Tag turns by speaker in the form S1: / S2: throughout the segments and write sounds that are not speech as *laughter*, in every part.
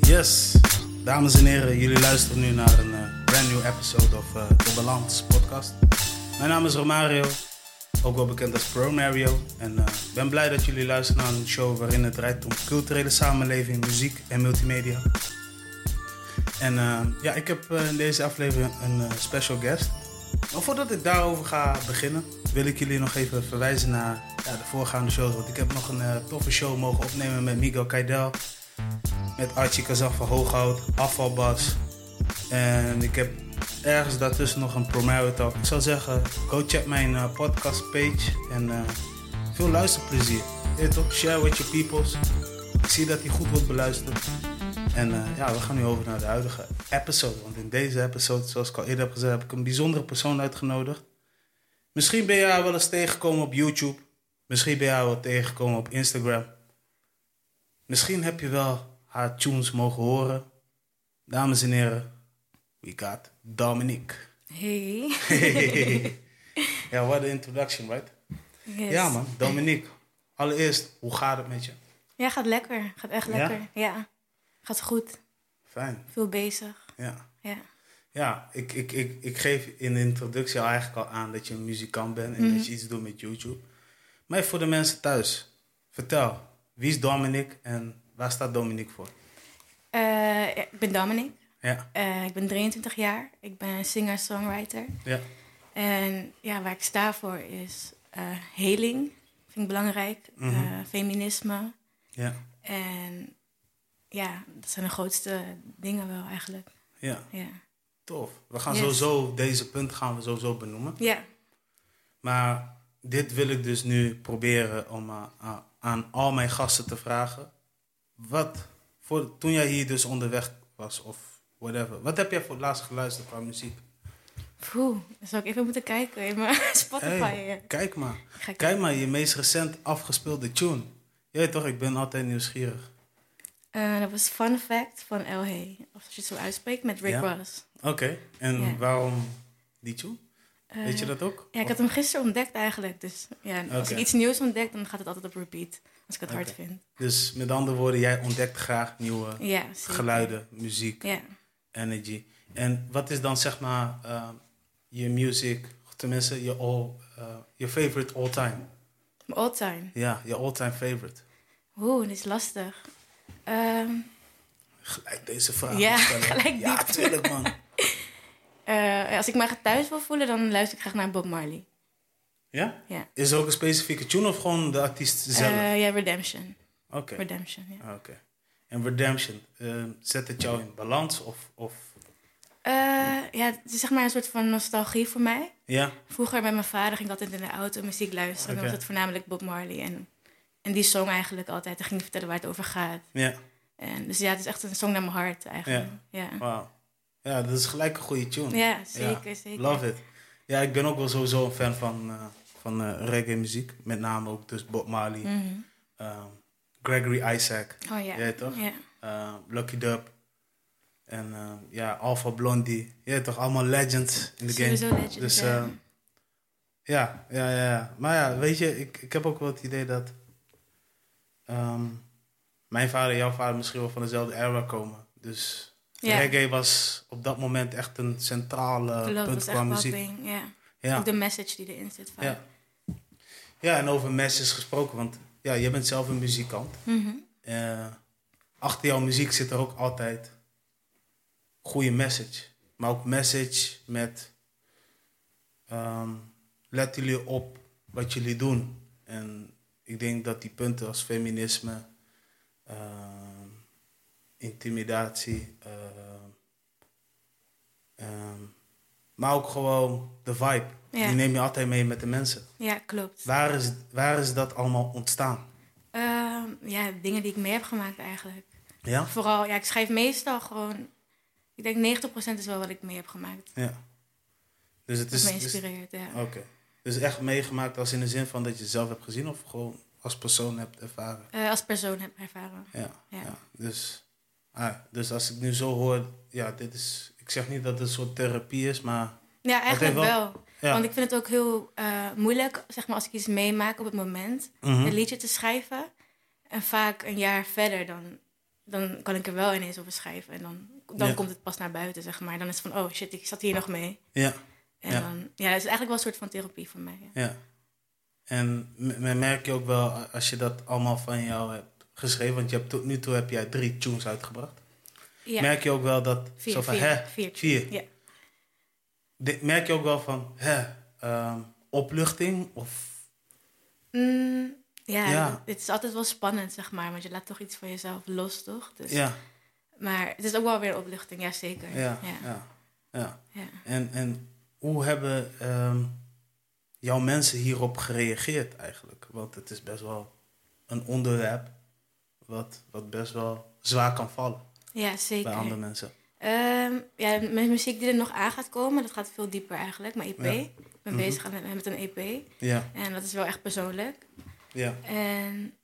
S1: Yes, dames en heren, jullie luisteren nu naar een eh, brand new episode of eh, The Balance podcast. Mijn naam is Romario, ook wel bekend als Pro Mario. En eh, ik ben blij dat jullie luisteren naar een show waarin het draait om culturele samenleving, muziek en multimedia. En eh, ja, ik heb eh, in deze aflevering een eh, special guest. Maar voordat ik daarover ga beginnen, wil ik jullie nog even verwijzen naar ja, de voorgaande shows. Want ik heb nog een eh, toffe show mogen opnemen met Miguel Kaidel. Met Archie Kazan van Hooghout, Afvalbas. En ik heb ergens daartussen nog een Promare Talk. Ik zou zeggen, go check mijn eh, podcast page. En eh, veel luisterplezier. Weet toch, share with your peoples. Ik zie dat die goed wordt beluisterd. En eh, ja, we gaan nu over naar de huidige episode. Want in deze episode, zoals ik al eerder heb gezegd, heb ik een bijzondere persoon uitgenodigd. Misschien ben je haar wel eens tegengekomen op YouTube. Misschien ben je haar wel tegengekomen op Instagram. Misschien heb je wel haar tunes mogen horen. Dames en heren, we got Dominique.
S2: Hey.
S1: ja, what an introduction, right?
S2: Yes.
S1: Ja man, Dominique. Allereerst, hoe gaat het met je?
S2: Ja, gaat lekker. Gaat echt
S1: Ja?
S2: lekker. Ja. Gaat goed.
S1: Fijn,
S2: Veel bezig.
S1: ja.
S2: Ja.
S1: Ja, ik, ik, ik, ik geef in de introductie al eigenlijk al aan dat je een muzikant bent en dat je iets doet met YouTube. Maar voor de mensen thuis, vertel, wie is Dominic en waar staat Dominic voor?
S2: Eh, ja, ik ben Dominic.
S1: Ja,
S2: Eh, ik ben 23 jaar. Ik ben singer-songwriter.
S1: ja,
S2: En ja, waar ik sta voor is eh heling. Vind ik belangrijk.
S1: Mhm.
S2: Eh, feminisme.
S1: ja,
S2: En ja, dat zijn de grootste dingen wel eigenlijk.
S1: ja.
S2: Ja.
S1: Tof. We gaan
S2: Yes.
S1: sowieso, deze punt gaan we sowieso benoemen.
S2: Ja.
S1: Maar dit wil ik dus nu proberen om eh, aan- aan al mijn gasten te vragen. Wat, voor, toen jij hier dus onderweg was of whatever, wat heb jij voor het laatst geluisterd qua muziek?
S2: Poeh, dan zou ik even moeten kijken in mijn *laughs* Spotify. eh.
S1: Hey,
S2: Ja.
S1: kijk maar.
S2: Ga ik-
S1: Kijk maar, je meest recent afgespeelde tune. Je weet toch, ik ben altijd nieuwsgierig.
S2: Eh, dat was Fun Fact van L.A. Of als je het zo uitspreekt, met Rick
S1: Ja.
S2: Ross.
S1: Oké, en
S2: Ja.
S1: waarom die tune?
S2: Eh,
S1: weet je dat ook?
S2: Ja, ik had hem gisteren ontdekt eigenlijk. Dus ja, als
S1: Oh. Oké.
S2: ik iets nieuws ontdek, dan gaat het altijd op repeat. Als ik het hard
S1: Oké.
S2: vind.
S1: Dus met andere woorden, jij ontdekt graag nieuwe
S2: Ja, zeker.
S1: geluiden, muziek,
S2: Ja.
S1: energy. En wat is dan zeg maar eh, je music, tenminste je all, eh, je favorite all time?
S2: Mijn all-time.
S1: Ja, je all time favorite.
S2: Oeh, dit is lastig. Ehm,
S1: Gelijk deze vraag.
S2: Ja,
S1: stellen.
S2: gelijk
S1: Ja,
S2: diep.
S1: tuurlijk man.
S2: eh, als ik me thuis wil voelen, dan luister ik graag naar Bob Marley.
S1: Ja?
S2: Ja.
S1: Is er ook een specifieke tune of gewoon de artiest zelf?
S2: Eh, ja, Redemption.
S1: Oké.
S2: Redemption, ja.
S1: Oké. En Redemption, ehm, zet het jou in balans of... of
S2: Eh, ja, het is zeg maar een soort van nostalgie voor mij.
S1: ja?
S2: Vroeger bij mijn vader ging ik altijd in de auto muziek luisteren. Dan
S1: Oké.
S2: was het voornamelijk Bob Marley. En, en die song eigenlijk altijd. Dan ging hij vertellen waar het over gaat.
S1: Ja,
S2: En, dus ja, het is echt een song naar mijn hart eigenlijk. Ja, ja.
S1: wauw. Ja, dat is gelijk een goede tune.
S2: zeker, zeker.
S1: Love it. Ja, ik ben ook wel sowieso een fan van, eh, van eh, reggae muziek. Met name ook dus Bob Marley,
S2: Mhm.
S1: ehm, Gregory Isaac,
S2: Oh ja.
S1: Jij toch?
S2: Ja.
S1: eh, Lucky Dub. En eh, ja, Alpha Blondie. Ja, toch allemaal legends in de game.
S2: Sowieso legends,
S1: Dus
S2: ja.
S1: ehm, ja, ja, ja, ja. Maar ja, weet je, ik, ik heb ook wel het idee dat ehm, mijn vader en jouw vader misschien wel van dezelfde era komen. Dus
S2: Ja.
S1: reggae was op dat moment echt een centrale
S2: Klopt, dat
S1: eh, punt
S2: is
S1: qua
S2: echt wel
S1: muziek.
S2: ding. Ja.
S1: Ja,
S2: Ook de message die erin zit vaak.
S1: ja. ja, en over messages gesproken, want ja, jij bent zelf een muzikant.
S2: Mhm.
S1: Eh, achter jouw muziek zit er ook altijd goede message. Maar ook message met ehm, let jullie op wat jullie doen. En ik denk dat die punten als feminisme, ehm, intimidatie, ehm, ehm, maar ook gewoon de vibe.
S2: Ja.
S1: Die neem je altijd mee met de mensen.
S2: ja, klopt.
S1: Waar is, waar is dat allemaal ontstaan?
S2: Ehm, ja, dingen die ik mee heb gemaakt eigenlijk.
S1: Ja?
S2: Vooral, ja, ik schrijf meestal gewoon... Ik denk 90% is wel wat ik mee heb gemaakt.
S1: Ja. Dus het
S2: Dat
S1: is.
S2: me
S1: dus-
S2: inspireert, ja.
S1: Oké. Dus echt meegemaakt als in de zin van dat je het zelf hebt gezien of gewoon als persoon hebt ervaren.
S2: Eh, als persoon heb ik ervaren.
S1: Ja. ja.
S2: Ja.
S1: Dus, ah, dus als ik nu zo hoor, ja, dit is. Ik zeg niet dat het een soort therapie is, maar.
S2: Ja, eigenlijk
S1: wel-
S2: wel.
S1: Ja.
S2: Want ik vind het ook heel eh, moeilijk, zeg maar, als ik iets meemaak op het moment,
S1: Mhm.
S2: een liedje te schrijven. En vaak een jaar verder dan dan kan ik er wel ineens over schrijven. En dan, dan
S1: Ja.
S2: komt het pas naar buiten, zeg maar. Dan is het van, oh shit, ik zat hier nog mee.
S1: Ja,
S2: En
S1: Ja.
S2: dan, ja, dat is eigenlijk wel een soort van therapie voor mij. Ja.
S1: ja. En m- m- merk je ook wel a- als je dat allemaal van jou hebt geschreven, want je hebt tot nu toe heb jij drie tunes uitgebracht.
S2: Ja,
S1: Merk je ook wel dat
S2: vier,
S1: zo van
S2: vier,
S1: hè,
S2: vier,
S1: vier.
S2: Ja.
S1: Dit- merk je ook wel van hè, ehm, opluchting of
S2: Mm, ja,
S1: Ja.
S2: het is altijd wel spannend, zeg maar. Want je laat toch iets van jezelf los, toch? Dus,
S1: ja,
S2: Maar het is ook wel weer een opluchting, ja zeker.
S1: ja,
S2: ja.
S1: ja, ja.
S2: ja.
S1: En, en hoe hebben ehm, jouw mensen hierop gereageerd eigenlijk? Want het is best wel een onderwerp wat, wat best wel zwaar kan vallen
S2: Ja,
S1: bij
S2: zeker.
S1: andere mensen.
S2: Ehm, ja, mijn muziek die er nog aan gaat komen, dat gaat veel dieper eigenlijk. Mijn EP.
S1: Ja.
S2: Ik ben
S1: Mhm.
S2: bezig aan- met, een EP.
S1: Ja,
S2: En dat is wel echt persoonlijk.
S1: ja,
S2: En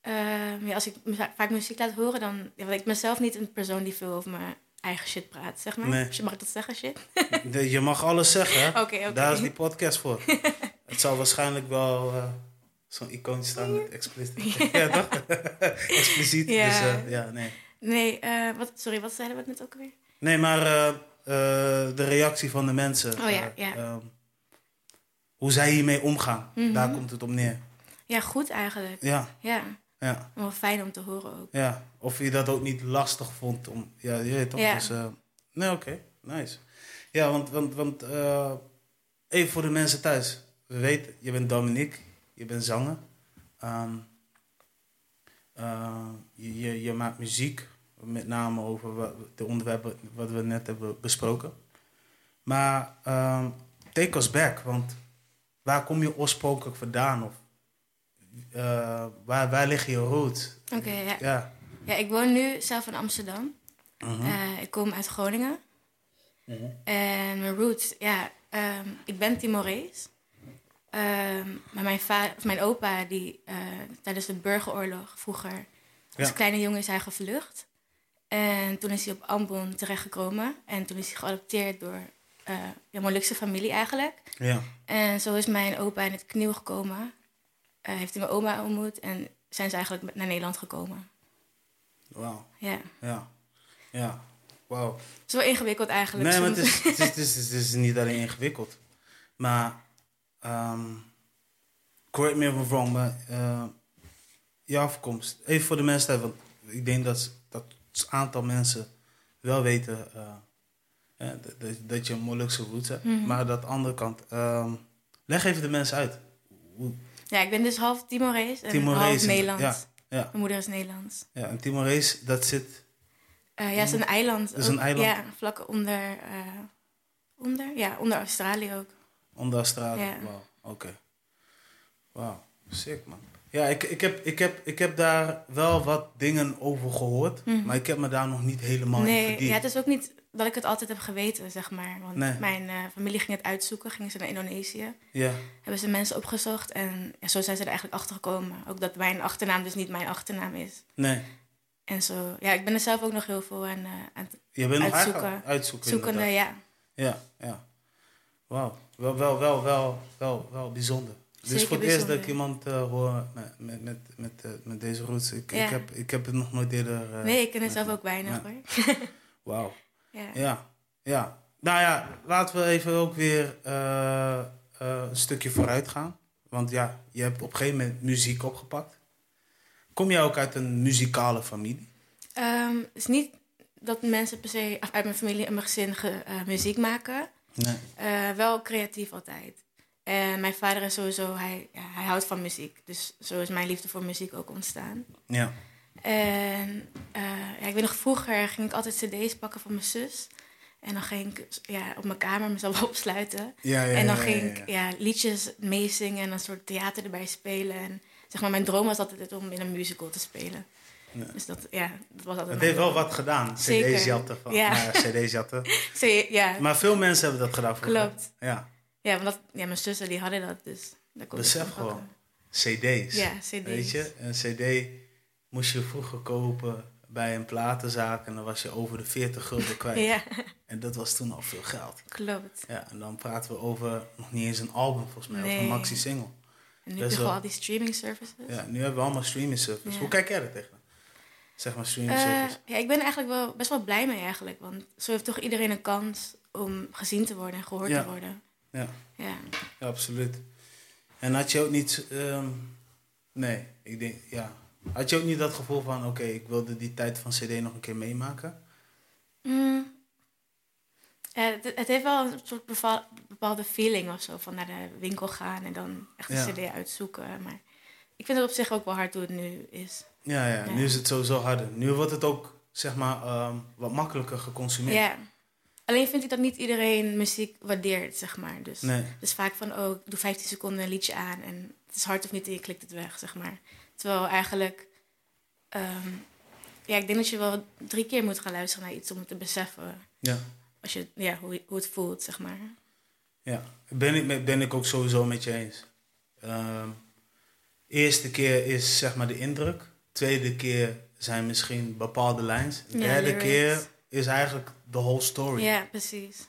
S2: ehm, ja, als ik mu- vaak muziek laat horen, dan... Ja, want ik ben zelf niet een persoon die veel over mijn eigen shit praat, zeg maar.
S1: Nee.
S2: Als je Mag ik dat zeggen, shit?
S1: De- je mag alles zeggen. hè?
S2: *laughs* Oké, oké.
S1: Daar is die podcast
S2: *laughs*
S1: voor. het zal waarschijnlijk wel eh, zo'n icoon staan met expliciet. *laughs* ja, toch? expliciet.
S2: Ja.
S1: Dus eh, ja, nee.
S2: Nee, eh, wat, sorry, wat zeiden we net ook weer?
S1: Nee, maar eh, eh, de reactie van de mensen.
S2: Oh ja,
S1: eh,
S2: ja.
S1: ehm, hoe zij hiermee omgaan.
S2: Mhm.
S1: Daar komt het op neer.
S2: Ja, goed eigenlijk.
S1: Ja,
S2: Ja,
S1: ja,
S2: wel fijn om te horen ook.
S1: ja. Of je dat ook niet lastig vond om. Ja, je weet toch?
S2: Ja.
S1: Dus, eh, nee, oké, nice. Ja, want, want, want eh, even voor de mensen thuis. We weten, je bent Dominique, je bent zanger. Ehm, eh, je, je, je maakt muziek, met name over wa- de onderwerpen wat we net hebben besproken. Maar ehm, take us back, want waar kom je oorspronkelijk vandaan? Of, eh, waar, waar liggen je roots?
S2: Oké, ja.
S1: Ja.
S2: Ja, ik woon nu zelf in Amsterdam.
S1: Mhm.
S2: Eh, ik kom uit Groningen.
S1: Mhm.
S2: En mijn roots, ja, ehm, ik ben Timorees. Ehm, maar mijn, va- of mijn opa, die eh, tijdens de burgeroorlog vroeger, als
S1: Ja.
S2: kleine jongen is hij gevlucht. En toen is hij op Ambon terechtgekomen. En toen is hij geadopteerd door eh een Molukse familie eigenlijk.
S1: Ja.
S2: En zo is mijn opa in het knieuw gekomen. Eh, heeft hij mijn oma ontmoet en zijn ze eigenlijk naar Nederland gekomen.
S1: Wauw.
S2: Ja,
S1: Ja. Ja. Wauw.
S2: het is wel ingewikkeld eigenlijk.
S1: Nee, maar
S2: soms.
S1: het is, het, is, het, is, het is niet alleen ingewikkeld. Maar, ehm, correct me if I'm wrong, maar eh, je afkomst. Even voor de mensen, thuis, want ik denk dat, s- dat een aantal mensen wel weten eh, hè, dat- dat, dat je een Molukse roots hebt.
S2: Mhm.
S1: Maar dat andere kant, ehm, leg even de mensen uit. Hoe-
S2: *laughs* Ja, ik ben dus half Timorees en
S1: Timorees
S2: half
S1: is-
S2: Nederlands.
S1: ja, ja.
S2: Mijn moeder is Nederlands.
S1: Ja, een Timorees, dat zit,
S2: Eh, ja, het is een eiland.
S1: Het is een
S2: ook.
S1: eiland.
S2: Ja, vlak onder, eh, onder, ja, onder Australië ook.
S1: Onder Australië.
S2: Ja.
S1: Wauw, oké. Wauw, sick man. Ja, ik, ik, heb, ik, heb, ik heb daar wel wat dingen over gehoord,
S2: Mhm.
S1: maar ik heb me daar nog niet helemaal in
S2: nee,
S1: verdiept.
S2: ja, het is ook niet dat ik het altijd heb geweten, zeg maar. Want
S1: Nee.
S2: mijn eh, familie ging het uitzoeken, gingen ze naar Indonesië.
S1: ja,
S2: Hebben ze mensen opgezocht en ja, zo zijn ze er eigenlijk achter gekomen. Ook dat mijn achternaam dus niet mijn achternaam is.
S1: nee.
S2: En zo, ja, ik ben er zelf ook nog heel veel aan, eh, aan het
S1: Je bent nog
S2: Uitzoeken.
S1: eigenlijk uitzoeken.
S2: zoekende,
S1: inderdaad.
S2: ja.
S1: Ja, ja. Wauw, wel, wel, wel, wel, wel, wel bijzonder. Dus
S2: Zeker
S1: voor het eerst dat ik
S2: bijzonder.
S1: iemand eh, hoor met, met, met, met, eh, met deze roots. Ik,
S2: Ja.
S1: ik, heb, ik heb het nog nooit eerder... eh,
S2: Nee, ik ken het
S1: nee.
S2: zelf ook weinig
S1: Ja. *laughs*
S2: hoor.
S1: Wauw.
S2: Ja.
S1: Ja, ja. Nou ja, laten we even ook weer eh, eh, een stukje vooruit gaan. Want ja, je hebt op een gegeven moment muziek opgepakt. Kom jij ook uit een muzikale familie?
S2: Ehm, het is niet dat mensen per se uit mijn familie en mijn gezin ge- eh, muziek maken.
S1: Nee.
S2: Eh, wel creatief altijd. En mijn vader is sowieso, hij, ja, hij houdt van muziek. Dus zo is mijn liefde voor muziek ook ontstaan.
S1: Ja.
S2: En eh, ja, ik weet nog, vroeger ging ik altijd cd's pakken van mijn zus. En dan ging ik ja, op mijn kamer mezelf *laughs* opsluiten.
S1: Ja, ja,
S2: en dan
S1: ja,
S2: ging
S1: ja,
S2: ik ja, liedjes meezingen en een soort theater erbij spelen. En zeg maar, mijn droom was altijd om in een musical te spelen.
S1: Ja.
S2: Dus dat, ja, dat was
S1: Het
S2: altijd mijn
S1: heeft wel
S2: droom.
S1: wat gedaan,
S2: Zeker.
S1: cd-jatten. Van,
S2: Ja.
S1: *laughs* ja. cd-jatten.
S2: Zo, ja,
S1: Maar veel mensen hebben dat gedaan. vroeger.
S2: klopt.
S1: Ja,
S2: Ja, want dat, ja, mijn zussen die hadden dat, dus daar kon ik
S1: Besef
S2: het van
S1: gewoon.
S2: pakken.
S1: cd's.
S2: Ja, cd's.
S1: Weet je, een cd moest je vroeger kopen bij een platenzaak. En dan was je over de 40 gulden kwijt.
S2: *laughs* Ja,
S1: En dat was toen al veel geld.
S2: klopt.
S1: Ja, en dan praten we over nog niet eens een album volgens mij, of
S2: Nee.
S1: een maxi-single.
S2: En nu
S1: Best
S2: heb
S1: wel.
S2: je gewoon al die streaming services. Eh,
S1: Ja, nu hebben we allemaal streaming service.
S2: Ja.
S1: Hoe kijk jij er tegenaan? Zeg maar streaming service.
S2: Eh, ja, ik ben er eigenlijk wel best wel blij mee eigenlijk. Want zo heeft toch iedereen een kans om gezien te worden en gehoord
S1: Ja.
S2: te worden.
S1: Ja.
S2: Ja.
S1: Ja, absoluut. En had je ook niet... ehm, nee, ik denk... Ja. Had je ook niet dat gevoel van... Oké, ik wilde die tijd van cd nog een keer meemaken?
S2: Mm. Ja, het, het heeft wel een soort beval- bepaalde feeling of zo. Van naar de winkel gaan en dan echt een
S1: Ja.
S2: cd uitzoeken. Maar ik vind het op zich ook wel hard hoe het nu is.
S1: Ja, ja.
S2: Ja.
S1: Nu is het sowieso harder. Nu wordt het ook, zeg maar, ehm, wat makkelijker geconsumeerd.
S2: Ja. Alleen vind ik dat niet iedereen muziek waardeert, zeg maar. Dus,
S1: Nee.
S2: dus vaak van, oh, ik doe 15 seconden een liedje aan en het is hard of niet en je klikt het weg, zeg maar. Terwijl eigenlijk, ehm, ja, ik denk dat je wel drie keer moet gaan luisteren naar iets om het te beseffen.
S1: Ja.
S2: Als je, ja, hoe, hoe het voelt, zeg maar.
S1: Ja, ben ik, met- ben ik ook sowieso met je eens. Ehm, eerste keer is zeg maar de indruk. Tweede keer zijn misschien bepaalde lijns.
S2: Ja,
S1: derde
S2: lyrics.
S1: keer is eigenlijk de whole story.
S2: Ja, precies.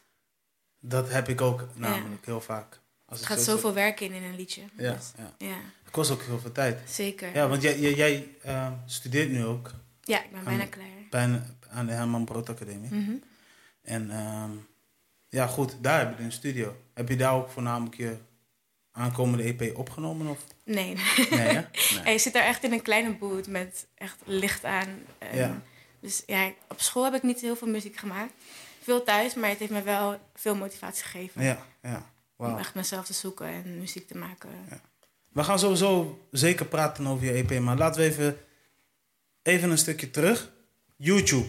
S1: Dat heb ik ook namelijk heel vaak. Als
S2: Er gaat
S1: zo
S2: zoveel werk in in een liedje.
S1: zit. Ja,
S2: Dus,
S1: ja,
S2: ja,
S1: het kost ook heel veel tijd.
S2: zeker. Ja.
S1: Ja, want jij, jij, jij, ehm, studeert nu ook
S2: ik ben
S1: Ehm,
S2: bijna klaar.
S1: bijna aan de Herman Brood Academie.
S2: Mhm.
S1: En ehm, ja, goed, daar heb je een studio. Heb je daar ook voornamelijk je aankomende EP opgenomen? Of?
S2: Nee,
S1: Nee,
S2: *laughs*
S1: hè? Nee.
S2: En je zit daar echt in een kleine boot met echt licht aan. En
S1: Ja.
S2: Dus ja, op school heb ik niet heel veel muziek gemaakt. Veel thuis, maar het heeft me wel veel motivatie gegeven.
S1: Ja, ja.
S2: Om
S1: Wauw.
S2: echt mezelf te zoeken en muziek te maken. Ja,
S1: We gaan sowieso zeker praten over je EP, maar laten we even, even een stukje terug. YouTube.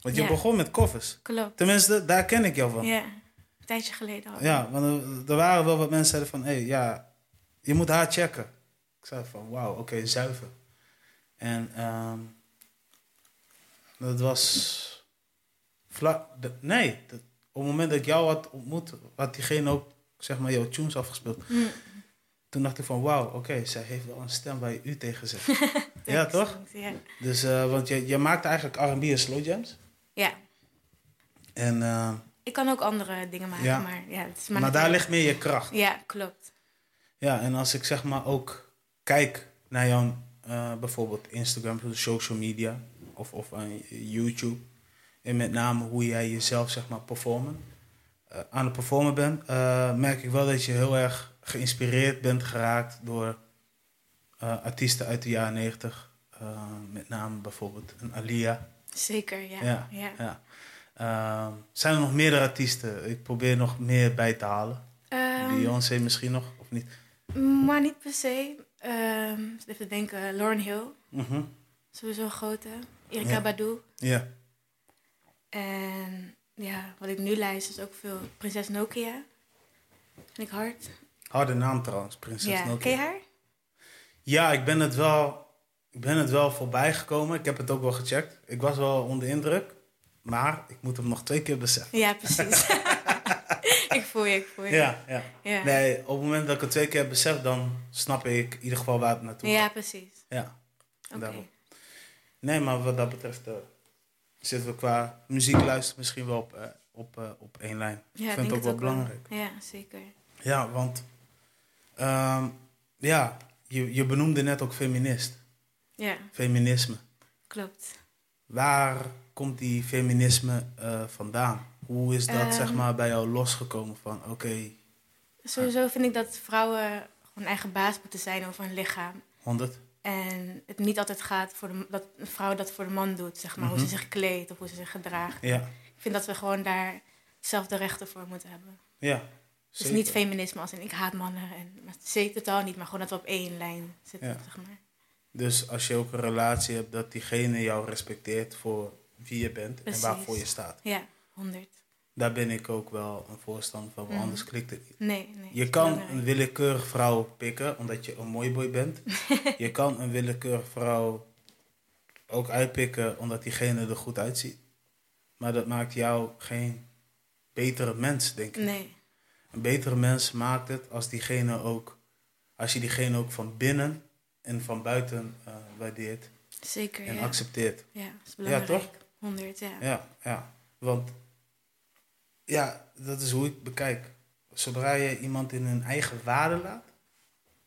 S1: Want je
S2: Ja.
S1: begon met covers.
S2: klopt.
S1: Tenminste, daar ken ik jou van. Ja,
S2: Ja, een tijdje geleden al.
S1: want er, er waren wel wat mensen zeiden van, hé, hey, ja, je moet haar checken. Ik zei van, wauw, oké, zuiver. En ehm, dat was vlak, de- nee, dat- op het moment dat ik jou had ontmoet, had diegene ook, zeg maar, jouw tunes afgespeeld.
S2: Hm,
S1: Toen dacht ik van, wauw, oké, zij heeft wel een stem waar je u tegen zegt. ja,
S2: thanks,
S1: toch?
S2: thanks, Ja.
S1: Dus, eh, want je, je maakt eigenlijk R&B en slow jams.
S2: ja,
S1: En, eh,
S2: ik kan ook andere dingen maken,
S1: Ja.
S2: maar ja, het is
S1: maar
S2: maar net-
S1: daar ligt meer je kracht.
S2: Ja, klopt.
S1: Ja, en als ik zeg maar ook kijk naar jouw eh, bijvoorbeeld Instagram, social media of, of aan YouTube. En met name hoe jij jezelf zeg maar performen, eh, aan het performen bent, eh, merk ik wel dat je heel erg geïnspireerd bent geraakt door eh, artiesten uit de jaren 90. Eh, met name bijvoorbeeld een Alia.
S2: Zeker, ja.
S1: Ja,
S2: ja.
S1: ja. Ehm, zijn er nog meerdere artiesten? Ik probeer nog meer bij te halen.
S2: Ehm,
S1: Beyoncé misschien nog, of niet?
S2: maar niet per se. Ehm, even denken, Lauren Hill,
S1: Mhm.
S2: sowieso een grote. Erika
S1: Ja.
S2: Badu.
S1: Ja.
S2: En ja, wat ik nu luister is ook veel Prinses Nokia. Vind ik hard.
S1: Harde naam trouwens, Prinses
S2: ja,
S1: Nokia.
S2: ken je haar?
S1: Ja, ik ben het wel, ik ben het wel voorbij gekomen. Ik heb het ook wel gecheckt. Ik was wel onder indruk, maar ik moet hem nog twee keer beseffen.
S2: Ja,
S1: *laughs*
S2: precies. ik voel je, ik voel je.
S1: Ja, ja.
S2: ja.
S1: Nee, op het moment dat ik het twee keer heb beseft, dan snap ik in ieder geval waar het naartoe
S2: Ja,
S1: gaat.
S2: precies.
S1: Ja.
S2: Oké.
S1: Daarom. Nee, maar wat dat betreft eh, zitten we qua muziek luisteren misschien wel op, eh, op, eh, op één lijn.
S2: Ja,
S1: ik vind het ook wel belangrijk.
S2: Ja, zeker.
S1: Ja, want ehm, ja, je, je benoemde net ook feminist.
S2: Ja,
S1: Feminisme.
S2: klopt.
S1: Waar komt die feminisme eh, vandaan? Hoe is dat
S2: Ehm.
S1: zeg maar bij jou losgekomen van oké,
S2: Sowieso vind ik dat vrouwen gewoon eigen baas moeten zijn over hun lichaam.
S1: 100?
S2: En het niet altijd gaat voor de, dat een vrouw dat voor de man doet, zeg maar. Hoe
S1: Mhm.
S2: ze zich kleedt of hoe ze zich gedraagt.
S1: Ja,
S2: Ik vind dat we gewoon daar zelf de rechten voor moeten hebben.
S1: ja.
S2: Dus
S1: zeker.
S2: niet feminisme als in ik haat mannen. En, maar zeker totaal niet, maar gewoon dat we op één lijn zitten,
S1: Ja.
S2: zeg maar.
S1: Dus als je ook een relatie hebt, dat diegene jou respecteert voor wie je bent
S2: Precies.
S1: en waarvoor je staat.
S2: Ja, honderd.
S1: Daar ben ik ook wel een voorstander van, want
S2: Mhm.
S1: anders klikt het niet.
S2: Nee, nee.
S1: Je
S2: is
S1: kan
S2: belangrijk.
S1: een willekeurig vrouw pikken, omdat je een mooi boy
S2: *laughs*
S1: bent. je kan een willekeurig vrouw ook uitpikken, omdat diegene er goed uitziet. Maar dat maakt jou geen betere mens, denk ik.
S2: Nee,
S1: Een betere mens maakt het als, diegene ook, als je diegene ook van binnen en van buiten eh, waardeert
S2: zeker.
S1: en
S2: ja.
S1: accepteert.
S2: ja, is belangrijk.
S1: toch?
S2: Honderd, ja.
S1: Ja, ja. Want ja, dat is hoe ik bekijk. Zodra je iemand in hun eigen waarde laat.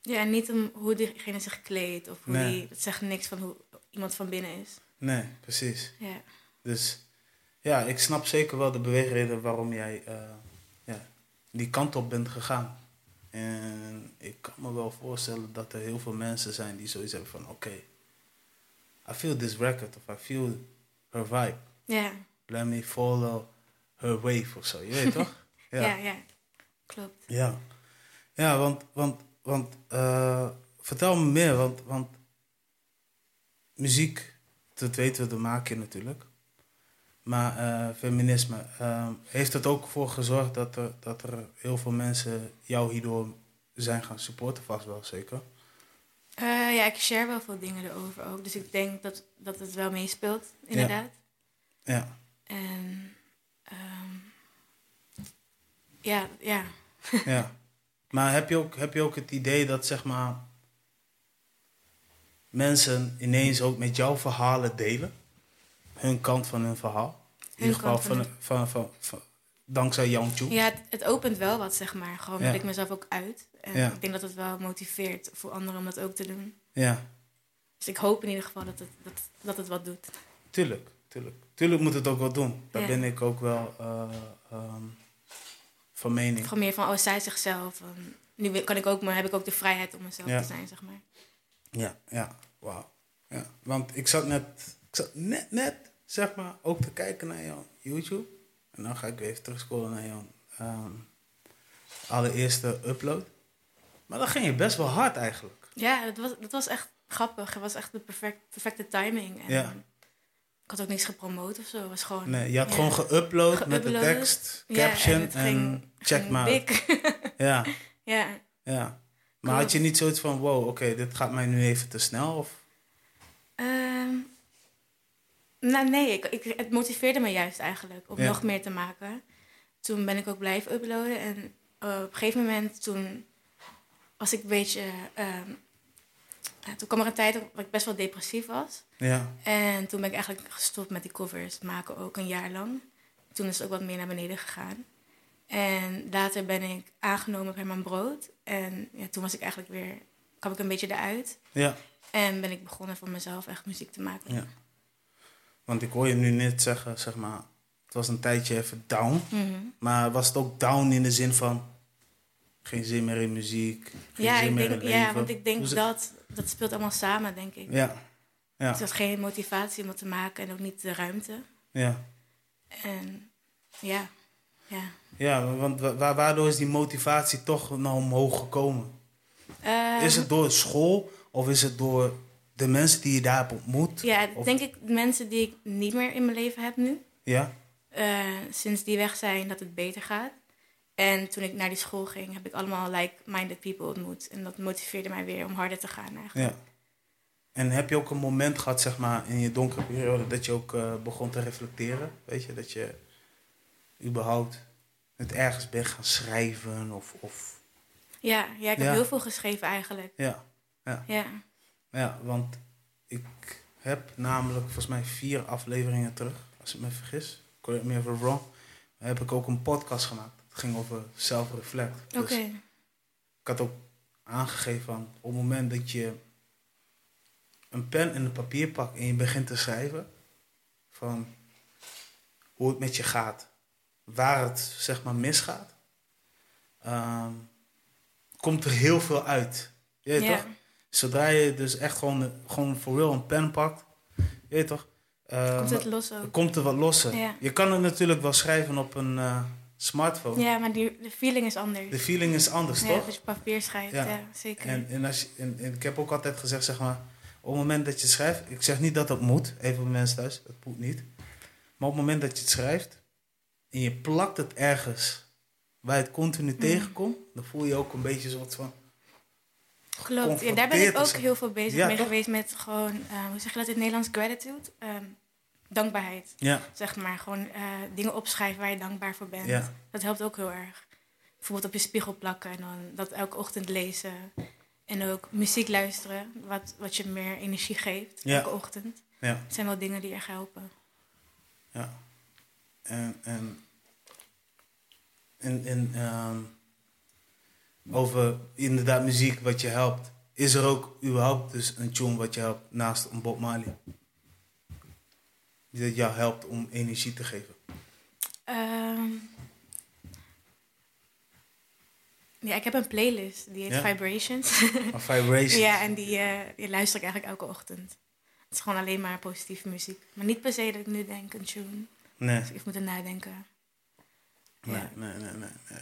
S2: Ja, en niet om hoe diegene zich kleedt of hoe
S1: Nee.
S2: die... Het zegt niks van hoe iemand van binnen is.
S1: Nee, precies.
S2: Ja.
S1: Dus ja, ik snap zeker wel de beweegreden waarom jij eh, ja, die kant op bent gegaan. En ik kan me wel voorstellen dat er heel veel mensen zijn die zoiets hebben van... Oké, I feel this record of I feel her vibe.
S2: Ja.
S1: Let me follow her wave of zo. Je weet toch?
S2: Ja. ja, Klopt.
S1: Ja, ja want, want, want eh, vertel me meer, want, want muziek, dat weten we, dat maak je natuurlijk. Maar eh, feminisme, eh, heeft het ook voor gezorgd dat er, dat er heel veel mensen jou hierdoor zijn gaan supporten? Vast wel, zeker.
S2: Eh, ja, ik share wel veel dingen erover ook. Dus ik denk dat, dat het wel meespeelt, inderdaad.
S1: Ja,
S2: En ehm, ja, ja.
S1: ja. Maar heb je, ook, heb je ook het idee dat, zeg maar, mensen ineens ook met jouw verhalen delen? Hun kant van hun verhaal? In ieder geval
S2: kant
S1: van, van, van, van- dankzij Yang Chu.
S2: Ja, het, het opent wel wat, zeg maar. Gewoon
S1: Ja.
S2: dat ik mezelf ook uit. En
S1: Ja.
S2: ik denk dat het wel motiveert voor anderen om dat ook te doen.
S1: Ja,
S2: Dus ik hoop in ieder geval dat het, dat, dat het wat doet.
S1: tuurlijk, tuurlijk. Tuurlijk moet het ook wel doen. Daar
S2: Ja.
S1: ben ik ook wel eh, ehm, van mening.
S2: Gewoon meer van, oh, zij zichzelf. van, nu wil- kan ik ook, maar heb ik ook de vrijheid om mezelf
S1: Ja.
S2: te zijn, zeg maar.
S1: Ja, ja, wauw. Ja, want ik zat net, ik zat net, net, zeg maar, ook te kijken naar jouw YouTube. En dan ga ik weer even terugscrollen naar jouw ehm, allereerste upload. Maar dan ging je best wel hard eigenlijk.
S2: Ja, dat was, dat was echt grappig. Het was echt de perfect, perfecte timing. En
S1: Ja.
S2: Ik had ook niks gepromoot of zo. Het was gewoon...
S1: Nee, je had
S2: ja.
S1: gewoon geüpload met de
S2: Geüpload.
S1: tekst,
S2: Ja,
S1: caption en,
S2: het ging-
S1: check
S2: ging
S1: maar.
S2: dik. *laughs*
S1: Ja,
S2: ja.
S1: ja. Maar
S2: Klopt.
S1: had je niet zoiets van, wow, oké, dit gaat mij nu even te snel? Of,
S2: Ehm, nou, nee, ik, ik, het motiveerde me juist eigenlijk om
S1: Ja.
S2: nog meer te maken. Toen ben ik ook blijven uploaden en eh, op een gegeven moment toen was ik een beetje. ehm, eh, toen kwam er een tijd dat ik best wel depressief was.
S1: ja,
S2: En toen ben ik eigenlijk gestopt met die covers maken, ook een jaar lang. Toen is het ook wat meer naar beneden gegaan. En later ben ik aangenomen bij mijn brood. En ja, toen was ik eigenlijk weer, kwam ik een beetje eruit.
S1: ja,
S2: En ben ik begonnen voor mezelf echt muziek te maken.
S1: ja. Want ik hoor je nu net zeggen, zeg maar, het was een tijdje even down.
S2: Mhm.
S1: Maar was het ook down in de zin van geen zin meer in muziek, geen
S2: Ja,
S1: zin
S2: ik
S1: meer
S2: denk,
S1: in leven?
S2: ja, want ik denk
S1: Hoe ze-
S2: dat dat speelt allemaal samen, denk ik.
S1: Ja, ja,
S2: Dus dat is geen motivatie om het te maken en ook niet de ruimte.
S1: ja.
S2: En ja, ja.
S1: Ja, want wa- wa- waardoor is die motivatie toch naar omhoog gekomen?
S2: Ehm,
S1: Is het door school of is het door de mensen die je daar hebt ontmoet?
S2: Ja,
S1: Of-
S2: denk ik de mensen die ik niet meer in mijn leven heb nu.
S1: Ja,
S2: eh, sinds die weg zijn, dat het beter gaat. En toen ik naar die school ging, heb ik allemaal like-minded people ontmoet. En dat motiveerde mij weer om harder te gaan eigenlijk.
S1: ja. En heb je ook een moment gehad, zeg maar, in je donkere periode dat je ook eh, begon te reflecteren? Weet je, dat je überhaupt het ergens bent gaan schrijven of... of...
S2: Ja, ja ik heb
S1: Ja.
S2: heel veel geschreven eigenlijk.
S1: Ja.
S2: Ja,
S1: Ja, want ik heb namelijk volgens mij vier afleveringen terug, als ik me vergis. Correct me if I'm wrong. Heb ik ook een podcast gemaakt. Het ging over self-reflect.
S2: oké.
S1: Dus ik had ook aangegeven van op het moment dat je een pen en een papier pakt en je begint te schrijven van hoe het met je gaat, waar het zeg maar misgaat, ehm, komt er heel veel uit. Je weet
S2: Ja.
S1: toch? Zodra je dus echt gewoon, gewoon voor real een pen pakt, je weet toch? eh,
S2: Komt het los ook?
S1: komt er wat losser.
S2: Ja.
S1: Je kan het natuurlijk wel schrijven op een eh, smartphone.
S2: Ja, maar die, de feeling is anders.
S1: De feeling is anders,
S2: ja,
S1: toch?
S2: als je op papier schrijft,
S1: Ja.
S2: ja, zeker.
S1: En, en, als je- en, en ik heb ook altijd gezegd, zeg maar, op het moment dat je schrijft, ik zeg niet dat dat moet, even voor de mensen thuis, dat moet niet. Maar op het moment dat je het schrijft en je plakt het ergens waar je het continu tegenkomt, dan voel je ook een beetje een soort van,
S2: Klopt, ja, daar ben ik
S1: of
S2: ook
S1: zo.
S2: heel veel bezig
S1: Ja,
S2: mee
S1: toch?
S2: geweest met gewoon, eh, hoe zeg je dat in het Nederlands, gratitude? Ehm, dankbaarheid,
S1: ja,
S2: zeg maar. Gewoon eh, dingen opschrijven waar je dankbaar voor bent.
S1: Ja.
S2: Dat helpt ook heel erg. Bijvoorbeeld op je spiegel plakken en dan dat elke ochtend lezen. En ook muziek luisteren, wat, wat je meer energie geeft
S1: Ja.
S2: elke ochtend.
S1: ja,
S2: Het zijn wel dingen die erg helpen.
S1: ja. En, en, en, en ehm, over inderdaad muziek wat je helpt. Is er ook überhaupt dus een tune wat je helpt naast een Bob Marley? die dat jou helpt om energie te
S2: *laughs*
S1: geven?
S2: Ehm, ja, ik heb een playlist. Die heet
S1: Ja?
S2: Vibrations.
S1: Of vibrations?
S2: *laughs* ja, en die, eh, die luister ik eigenlijk elke ochtend. Het is gewoon alleen maar positieve muziek. Maar niet per se dat ik nu denk een tune.
S1: Nee,
S2: Dus ik moet er nadenken.
S1: nee,
S2: Ja.
S1: nee, nee, nee. nee.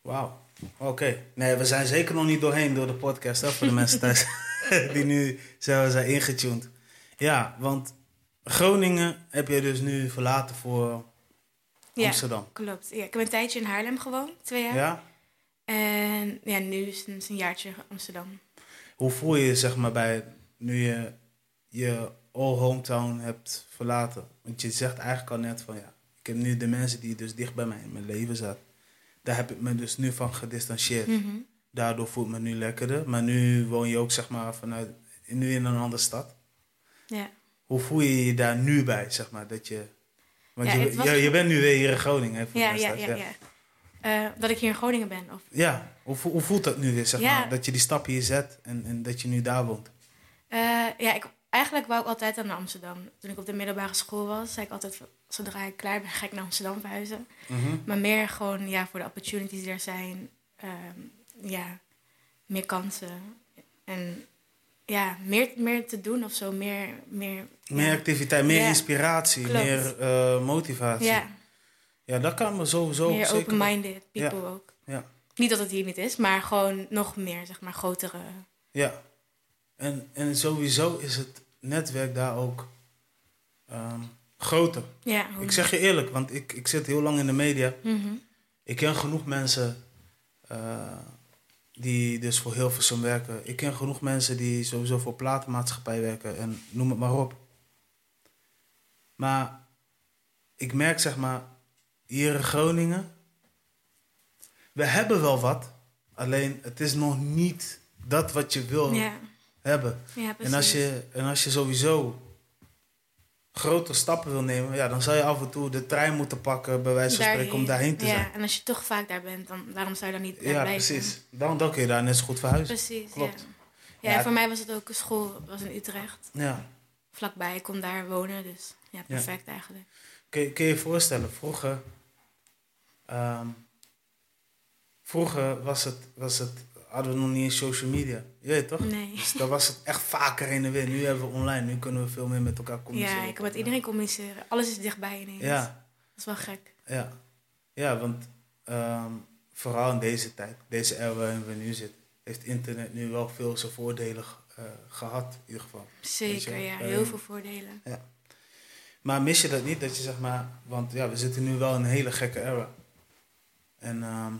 S1: Wauw. Oké. Nee, we zijn zeker nog niet doorheen door de podcast, hè, voor de mensen thuis *laughs* die nu zelf zijn ingetuned. Ja, want Groningen heb je dus nu verlaten voor
S2: Ja,
S1: Amsterdam.
S2: klopt. Ja, ik heb een tijdje in Haarlem gewoond, twee
S1: Ja.
S2: jaar. En ja, nu is het een jaartje Amsterdam.
S1: Hoe voel je je, zeg maar, bij nu je je all hometown hebt verlaten? Want je zegt eigenlijk al net van ja, ik heb nu de mensen die dus dicht bij mij in mijn leven zaten. Daar heb ik me dus nu van gedistanceerd.
S2: Mhm.
S1: daardoor voelt me nu lekkerder. Maar nu woon je ook zeg maar vanuit, nu in een andere stad.
S2: Ja.
S1: Hoe voel je je daar nu bij, zeg maar, dat je... Want
S2: Ja,
S1: je,
S2: het was-
S1: je, je bent nu weer hier in Groningen, hè? voor
S2: Ja,
S1: de
S2: ja,
S1: rest,
S2: ja, ja. Eh, dat ik hier in Groningen ben. Of,
S1: Ja, hoe, vo- hoe voelt dat nu weer, zeg
S2: Ja.
S1: maar? Dat je die stap hier zet en, en dat je nu daar woont.
S2: Eh, ja, ik, eigenlijk wou ik altijd naar Amsterdam. Toen ik op de middelbare school was, zei ik altijd... van, zodra ik klaar ben, ga ik naar Amsterdam verhuizen.
S1: Mhm.
S2: Maar meer gewoon ja, voor de opportunities die er zijn. ehm, ja, meer kansen. En ja, meer, meer te doen of zo. Meer, meer,
S1: Meer
S2: ja.
S1: activiteit, meer
S2: Ja,
S1: inspiratie,
S2: klopt.
S1: meer eh, motivatie.
S2: Ja,
S1: Ja. dat kan me sowieso
S2: meer
S1: zeker...
S2: open-minded people ook.
S1: Ja.
S2: Niet dat het hier niet is, maar gewoon nog meer, zeg maar, grotere...
S1: Ja. En, en sowieso is het netwerk daar ook ehm, groter.
S2: Ja, hoe-
S1: Ik zeg je eerlijk, want ik, ik zit heel lang in de media.
S2: Mhm.
S1: Ik ken genoeg mensen eh, die dus voor Hilversum werken. Ik ken genoeg mensen die sowieso voor platenmaatschappij werken en noem het maar op. Maar ik merk zeg maar, hier in Groningen, we hebben wel wat. Alleen het is nog niet dat wat je wil
S2: Ja,
S1: hebben.
S2: ja, precies.
S1: En als, je, en als je sowieso grote stappen wil nemen, ja, dan zou je af en toe de trein moeten pakken, bij wijze van spreken, om daarheen te
S2: ja,
S1: zijn.
S2: en als je toch vaak daar bent, dan waarom zou je dan niet daar
S1: Ja,
S2: blijven?
S1: precies. Dan, dan kun je daar net zo goed verhuizen.
S2: Precies,
S1: Klopt.
S2: ja. Ja,
S1: Ja,
S2: en voor mij was het ook een school, het was in Utrecht,
S1: Ja.
S2: vlakbij. Ik kon daar wonen, dus ja, perfect eigenlijk.
S1: Kun, je- kun je je voorstellen, vroeger, ehm, vroeger was het, was het, hadden we nog niet eens social media. Je weet toch?
S2: Nee.
S1: Dus dan was het echt vaker heen en weer. Nu hebben we online, nu kunnen we veel meer met elkaar communiceren.
S2: Ja, ik kan met iedereen communiceren. Alles is dichtbij ineens.
S1: Ja.
S2: Dat is wel gek.
S1: Ja, ja want ehm, vooral in deze tijd, deze era waarin we nu zitten, heeft internet nu wel veel zijn voordelen eh, gehad, in ieder geval.
S2: Zeker,
S1: Weet je,
S2: ja.
S1: eh,
S2: Heel veel voordelen.
S1: Maar mis je dat niet, dat je zeg maar, want ja, we zitten nu wel in een hele gekke era. En ehm,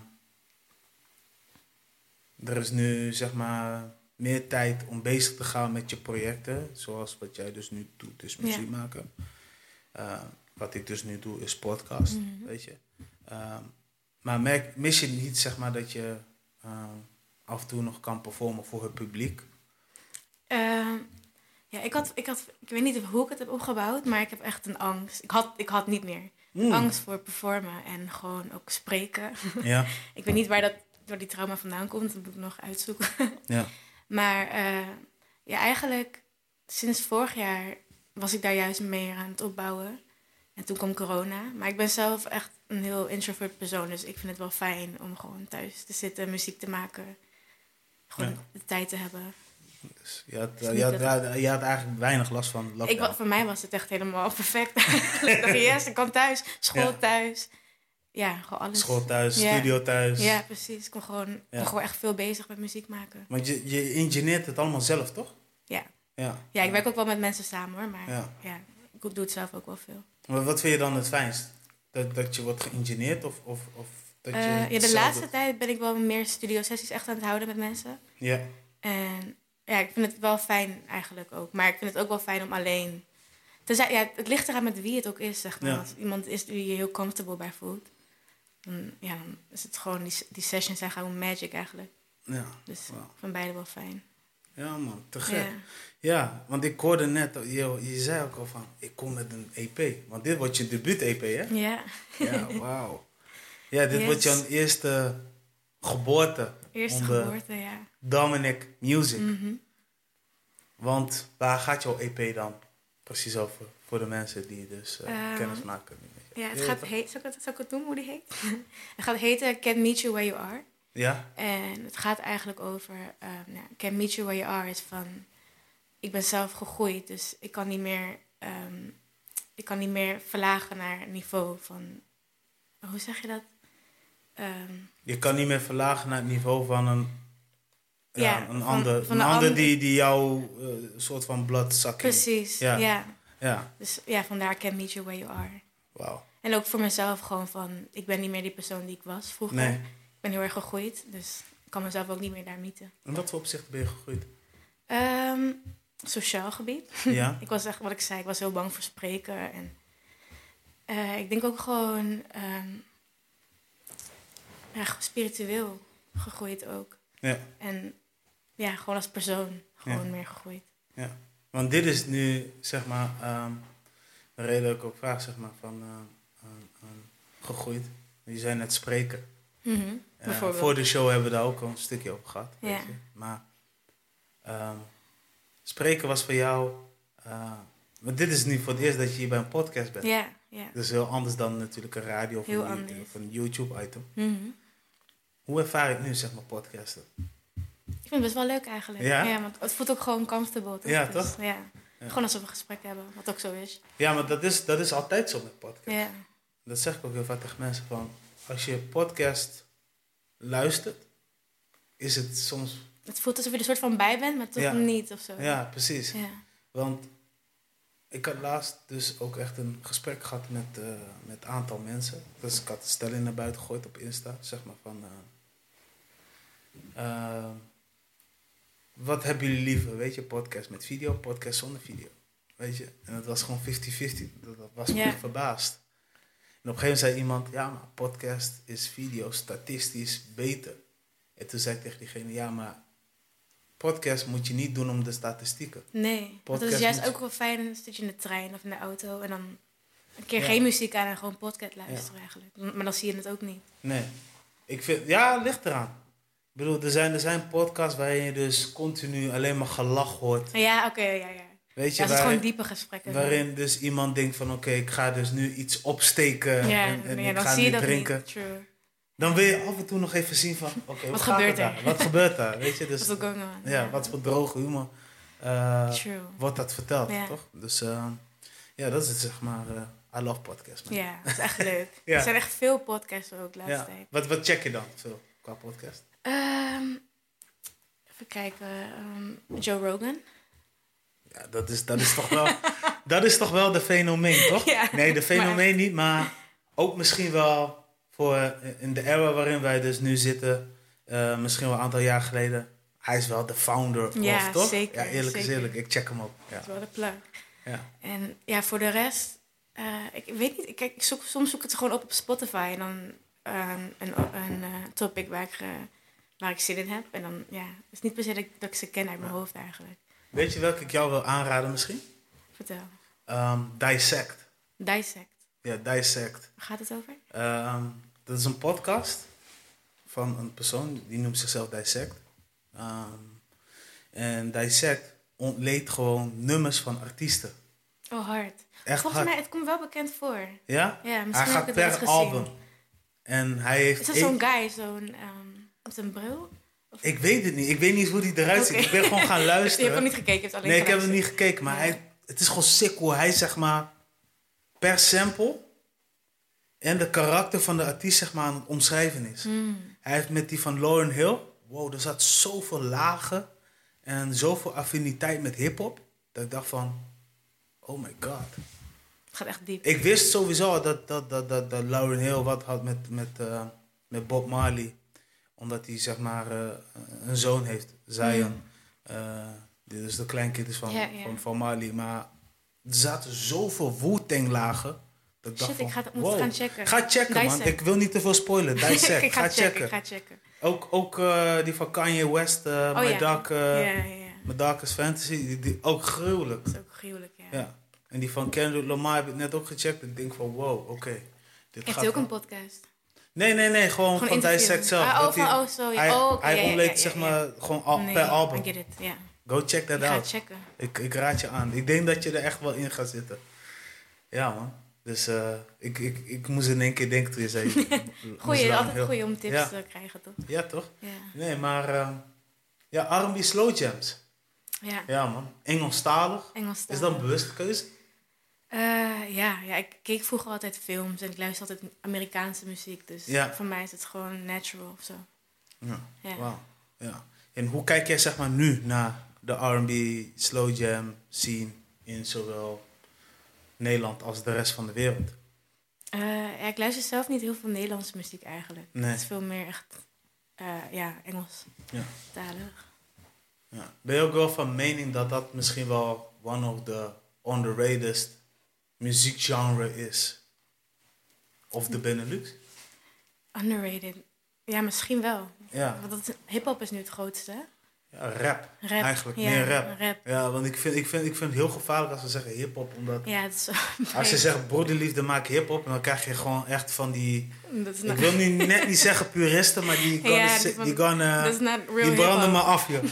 S1: er is nu zeg maar meer tijd om bezig te gaan met je projecten, zoals wat jij dus nu doet, dus
S2: Ja.
S1: muziek maken. Eh, wat ik dus nu doe is podcast,
S2: Mhm.
S1: weet je. Ehm, maar merk, mis je niet zeg maar dat je ehm, af en toe nog kan performen voor het publiek?
S2: Ehm, ja, ik had, ik had, ik weet niet hoe ik het heb opgebouwd, maar ik heb echt een angst. Ik had, ik had niet meer.
S1: Mm.
S2: Angst voor performen en gewoon ook
S1: *laughs*
S2: spreken.
S1: Ja,
S2: Ik weet niet waar dat door die trauma vandaan komt. Dat moet ik nog uitzoeken.
S1: ja.
S2: Maar eh, ja, eigenlijk sinds vorig jaar was ik daar juist mee aan het opbouwen. En toen kwam corona. Maar ik ben zelf echt een heel introvert persoon. Dus ik vind het wel fijn om gewoon thuis te zitten, muziek te maken. Gewoon
S1: Ja.
S2: de tijd te hebben.
S1: Dus je, had,
S2: is niet
S1: je, had,
S2: dat-
S1: je had- je had eigenlijk weinig last van lockdown.
S2: Ik, wa- voor mij was het echt helemaal
S1: *laughs*
S2: *laughs* perfect. ik dacht, yes, ik kan thuis. School
S1: Ja.
S2: thuis. Ja, gewoon alles.
S1: School thuis,
S2: Dus Ja.
S1: studio thuis.
S2: Ja, precies. Ik kon gewoon, ik
S1: Ja.
S2: kon gewoon echt veel bezig met muziek maken.
S1: Want je, je engineert het allemaal zelf, toch?
S2: Ja.
S1: Ja.
S2: Ja, ik werk ook wel met mensen samen hoor. Maar
S1: Ja.
S2: ja, ik doe het zelf ook wel veel.
S1: Maar wat vind je dan het fijnst? Dat, dat je wordt geïngineerd of, of, of dat je...
S2: Eh, ja,
S1: het
S2: de
S1: zelf
S2: laatste
S1: doet?
S2: tijd ben ik wel meer studiosessies echt aan het houden met mensen.
S1: Ja,
S2: En ja, ik vind het wel fijn eigenlijk ook. Maar ik vind het ook wel fijn om alleen... Tenzij, ja, het ligt eraan met wie het ook is, zeg maar.
S1: Ja.
S2: Als iemand is die je heel comfortable bij voelt... dan, ja, dan is het gewoon... Die, die sessions zijn gewoon magic eigenlijk.
S1: ja.
S2: Dus
S1: Wauw.
S2: van beide wel fijn.
S1: Ja, man, te gek.
S2: Ja.
S1: Ja. want ik hoorde net, je, je zei ook al van, ik kom met een EP. Want dit wordt je debuut-EP,
S2: *laughs*
S1: hè?
S2: ja,
S1: Ja, wauw. Ja, dit
S2: Yes.
S1: wordt jouw eerste geboorte.
S2: eerste
S1: onder
S2: geboorte, ja.
S1: Dominic Music.
S2: Mhm.
S1: Want waar gaat jouw EP E dan precies over voor de mensen die dus eh,
S2: Ehm,
S1: kennis maken? met je?
S2: Ja, het
S1: Ja,
S2: gaat
S1: toch?
S2: heet, zal, ik het, zal ik het doen hoe die heet? *laughs* het gaat heten Can Meet You Where You Are.
S1: Ja?
S2: En het gaat eigenlijk over, ehm nou, Can Meet You Where You Are is van, ik ben zelf gegroeid, dus ik kan niet meer, ehm, ik kan niet meer verlagen naar een niveau van, hoe zeg je dat? Ehm,
S1: Je kan niet meer verlagen naar het niveau van een, ja,
S2: Ja,
S1: een
S2: van-
S1: ander.
S2: van
S1: een
S2: een
S1: ander
S2: ander.
S1: die, die jou eh, een soort van bloedzak in-
S2: precies,
S1: Ja.
S2: ja.
S1: Ja,
S2: Dus ja, vandaar Can Meet You Where You Are.
S1: wauw.
S2: En ook voor mezelf gewoon van, ik ben niet meer die persoon die ik was vroeger.
S1: Nee.
S2: Ik ben heel erg gegroeid, dus ik kan mezelf ook niet meer daar mieten.
S1: In wat voor opzicht ben je
S2: *laughs*
S1: gegroeid?
S2: Ehm, sociaal gebied.
S1: Ja?
S2: Ik was echt, wat ik zei, ik was heel bang voor spreken. En, eh, ik denk ook gewoon ehm, ja, gewoon spiritueel gegroeid ook.
S1: Ja.
S2: En ja, gewoon als persoon gewoon
S1: Ja.
S2: meer gegroeid.
S1: Want dit is nu, zeg maar, ehm, de reden dat ik ook vraag, zeg maar, van ehm, ehm, ehm, gegroeid. Je zei net spreken.
S2: Mhm,
S1: Eh,
S2: bijvoorbeeld.
S1: voor de show hebben we daar ook al een stukje over gehad. Weet
S2: Ja.
S1: je. Maar ehm, spreken was voor jou. maar dit is nu voor het eerst dat je hier bij een podcast bent.
S2: Ja, ja.
S1: Dat is heel anders dan natuurlijk een radio of,
S2: Heel
S1: een, YouTube-
S2: anders.
S1: of een YouTube-item.
S2: Mhm.
S1: Hoe ervaar ik nu, zeg maar, podcasten?
S2: Ik vind het best wel leuk eigenlijk.
S1: Ja?
S2: want het voelt ook gewoon comfortable. Toch?
S1: Ja,
S2: Dus,
S1: toch?
S2: Ja.
S1: Ja.
S2: Gewoon alsof we een gesprek hebben, wat ook zo is.
S1: Ja, maar dat is, dat is altijd zo met podcasts.
S2: Ja,
S1: Dat zeg ik ook heel vaak tegen mensen van... Als je podcast luistert, is het soms...
S2: het voelt alsof je er soort van bij bent, maar toch
S1: Ja.
S2: niet of zo.
S1: Ja, precies.
S2: ja.
S1: Want ik had laatst dus ook echt een gesprek gehad met eh, met een aantal mensen. Dus ik had een stelling naar buiten gegooid op Insta, zeg maar van... eh, eh, wat hebben jullie liever, weet je, podcast met video, podcast zonder video? Weet je, en dat was gewoon 50-50. Dat, dat was me
S2: Ja.
S1: echt verbaasd. En op een gegeven moment zei iemand, ja, maar podcast is video statistisch beter. En toen zei ik tegen diegene, ja, maar podcast moet je niet doen om de statistieken.
S2: Nee, want het
S1: Podcast
S2: is juist
S1: moet-
S2: ook wel fijn. Dan zit je in de trein of in de auto en dan een keer
S1: Ja.
S2: geen muziek aan en gewoon podcast luisteren eigenlijk. Maar dan zie je het ook niet.
S1: Nee. Ik vind, ja, ligt eraan. Ik bedoel, er zijn, er zijn podcasts waarin je dus continu alleen maar gelach hoort.
S2: Ja, oké, ja, ja.
S1: Weet
S2: Ja,
S1: je,
S2: het is gewoon
S1: waarin,
S2: diepe gesprekken.
S1: waarin dus iemand denkt van oké, ik ga dus nu iets opsteken
S2: ja,
S1: en, en
S2: ja,
S1: ik
S2: dan
S1: ga
S2: zie je
S1: nu
S2: dat
S1: drinken.
S2: niet. True.
S1: Dan wil je af en toe nog even zien van oké, wat,
S2: Wat
S1: gaat
S2: gebeurt
S1: daar?
S2: er?
S1: Wat gebeurt daar? Weet
S2: *laughs*
S1: je, dus
S2: What's going on?
S1: ja, wat voor droge humor eh,
S2: True.
S1: wordt dat verteld,
S2: Ja.
S1: toch? Dus eh, ja, dat is het zeg maar, eh I love podcasts. man.
S2: Ja, dat is echt leuk.
S1: *laughs* Ja.
S2: Er zijn echt veel podcasts ook de laatste
S1: Ja.
S2: tijd.
S1: Wat, wat check je dan veel qua podcast?
S2: Ehm, even kijken. ehm, Joe Rogan.
S1: Ja, dat is, dat is toch
S2: *laughs*
S1: wel... dat is toch wel de fenomeen, toch?
S2: Ja,
S1: nee, de fenomeen
S2: maar
S1: niet, maar ook misschien wel voor eh, in de era waarin wij dus nu zitten, eh, misschien wel een aantal jaar geleden. Hij is wel de founder,
S2: Ja,
S1: of, toch?
S2: zeker,
S1: ja, eerlijk is
S2: zeker.
S1: eerlijk. Ik check hem op. Ja,
S2: Dat is wel de plug.
S1: ja.
S2: En ja, voor de rest, eh, ik weet niet. Ik, kijk, ik zoek, soms zoek ik het gewoon op op Spotify en dan eh, een, een eh, topic waar ik, eh, waar ik zin in heb. En dan, ja, het is niet per se dat ik, dat ik ze ken uit mijn hoofd eigenlijk.
S1: Weet je welke ik jou wil aanraden misschien?
S2: Vertel.
S1: Ehm, Dissect.
S2: Dissect.
S1: Ja, Dissect.
S2: Waar gaat het over?
S1: Ehm, dat is een podcast van een persoon die noemt zichzelf Dissect. Ehm, en Dissect ontleedt gewoon nummers van artiesten.
S2: Oh, hard.
S1: Echt
S2: Volgens
S1: hard.
S2: mij, het komt wel bekend voor.
S1: Ja?
S2: Ja, misschien
S1: Hij
S2: heb ik
S1: gaat
S2: het wel eens
S1: per
S2: gezien.
S1: album. En hij heeft.
S2: Is dat
S1: één-
S2: zo'n guy, zo'n, ehm, met een bril?
S1: Ik weet het niet. Ik weet niet hoe die eruit ziet.
S2: Oké.
S1: Ik ben gewoon
S2: *laughs*
S1: gaan
S2: Je hebt
S1: luisteren.
S2: hem niet gekeken, je hebt alleen
S1: nee, ik heb hem
S2: geluisterd.
S1: niet gekeken. Maar hij, het is gewoon sick hoe hij zeg maar per sample en de karakter van de artiest zeg maar aan het omschrijven is. Hij heeft met die van Lauren Hill. Wow, er zat zoveel lagen en zoveel affiniteit met hip-hop. Dat ik dacht van, oh my god.
S2: Het gaat echt diep.
S1: Ik wist sowieso al dat, dat, dat, dat, dat Lauren Hill wat had met, met, eh, met Bob Marley. Omdat hij zeg maar eh, een zoon heeft, Zion. Eh, die dus de kleinkind is van,
S2: Ja, ja.
S1: van, van Marley. Maar er zaten zoveel wu lagen. Dat ik dacht
S2: Shit, ik
S1: van,
S2: ga het- moet het gaan checken.
S1: Ga checken man,
S2: Dissect.
S1: ik wil niet te veel spoilen.
S2: *laughs*
S1: Dissect,
S2: ik
S1: ga, checken.
S2: ik ga checken. Oh
S1: Ook, ook eh, die van Kanye West, eh My,
S2: ja.
S1: Dark, eh,
S2: Ja, ja, ja.
S1: My Darkest Fantasy. Die, die- ook gruwelijk.
S2: Dat is ook gruwelijk, ja.
S1: Ja. En die van Kendrick Lamar heb ik net ook gecheckt. Ik denk van, wow, oké. Dit
S2: Heeft
S1: gaat
S2: hij ook
S1: wel-
S2: een podcast?
S1: Nee, nee, nee. Gewoon,
S2: Gewoon
S1: van
S2: interview.
S1: Dissect zelf.
S2: Ah, oh,
S1: Dat
S2: van-
S1: hij-
S2: oh, sorry.
S1: Hij,
S2: Oh, oké,
S1: hij
S2: ja, ja,
S1: ontleedt
S2: ja,
S1: zeg
S2: ja,
S1: maar gewoon al,
S2: Nee,
S1: per
S2: I
S1: album.
S2: get it, ja.
S1: Go check that
S2: Ik ga
S1: out.
S2: het checken.
S1: Ik, ik raad je aan. Ik denk dat je er echt wel in gaat zitten. Ja, man. Dus eh, ik, ik, ik moest in één keer denken toen je zei...
S2: *laughs*
S1: moest
S2: Goeie,
S1: lang
S2: altijd
S1: heel-
S2: goeie om tips
S1: Ja.
S2: te krijgen, toch?
S1: Ja, toch?
S2: Ja.
S1: Nee, maar... eh, ja, R&B slow jams.
S2: ja.
S1: Ja, man. Engelstalig.
S2: Engels
S1: Is dat een bewuste keuze?
S2: Eh, ja, ja, ik keek vroeger altijd films en ik luisterde altijd Amerikaanse muziek. Dus
S1: Ja.
S2: voor mij is het gewoon natural of zo.
S1: Ja.
S2: Ja.
S1: Wauw. Ja. En hoe kijk jij zeg maar nu naar de R&B slow jam scene in zowel Nederland als de rest van de wereld?
S2: Eh, ja, ik luister zelf niet heel veel Nederlandse muziek eigenlijk.
S1: Nee.
S2: Het is veel meer echt eh, ja, Engels
S1: Ja.
S2: talig.
S1: Ja. Ben je ook wel van mening dat dat misschien wel one of the underratedest muziekgenre is? Of de Benelux?
S2: Underrated. Ja, misschien wel.
S1: Ja,
S2: Want dat- hip-hop is nu het grootste. hè?
S1: ja rap.
S2: Rap.
S1: Eigenlijk
S2: ja,
S1: meer rap. Ja, want ik vind, ik, vind, ik vind het heel gevaarlijk als ze zeggen hip-hop. Omdat
S2: Ja, het is.
S1: als ze zeggen broederliefde maak hip-hop, dan krijg je gewoon echt van die.
S2: Dat is
S1: Ik
S2: not,
S1: wil nu net niet zeggen puristen, maar die gaan.
S2: Ja,
S1: die,
S2: die van-
S1: gaan, eh,
S2: *laughs* dat is not real
S1: die branden me
S2: hip-hop.
S1: af,
S2: *laughs*
S1: joh.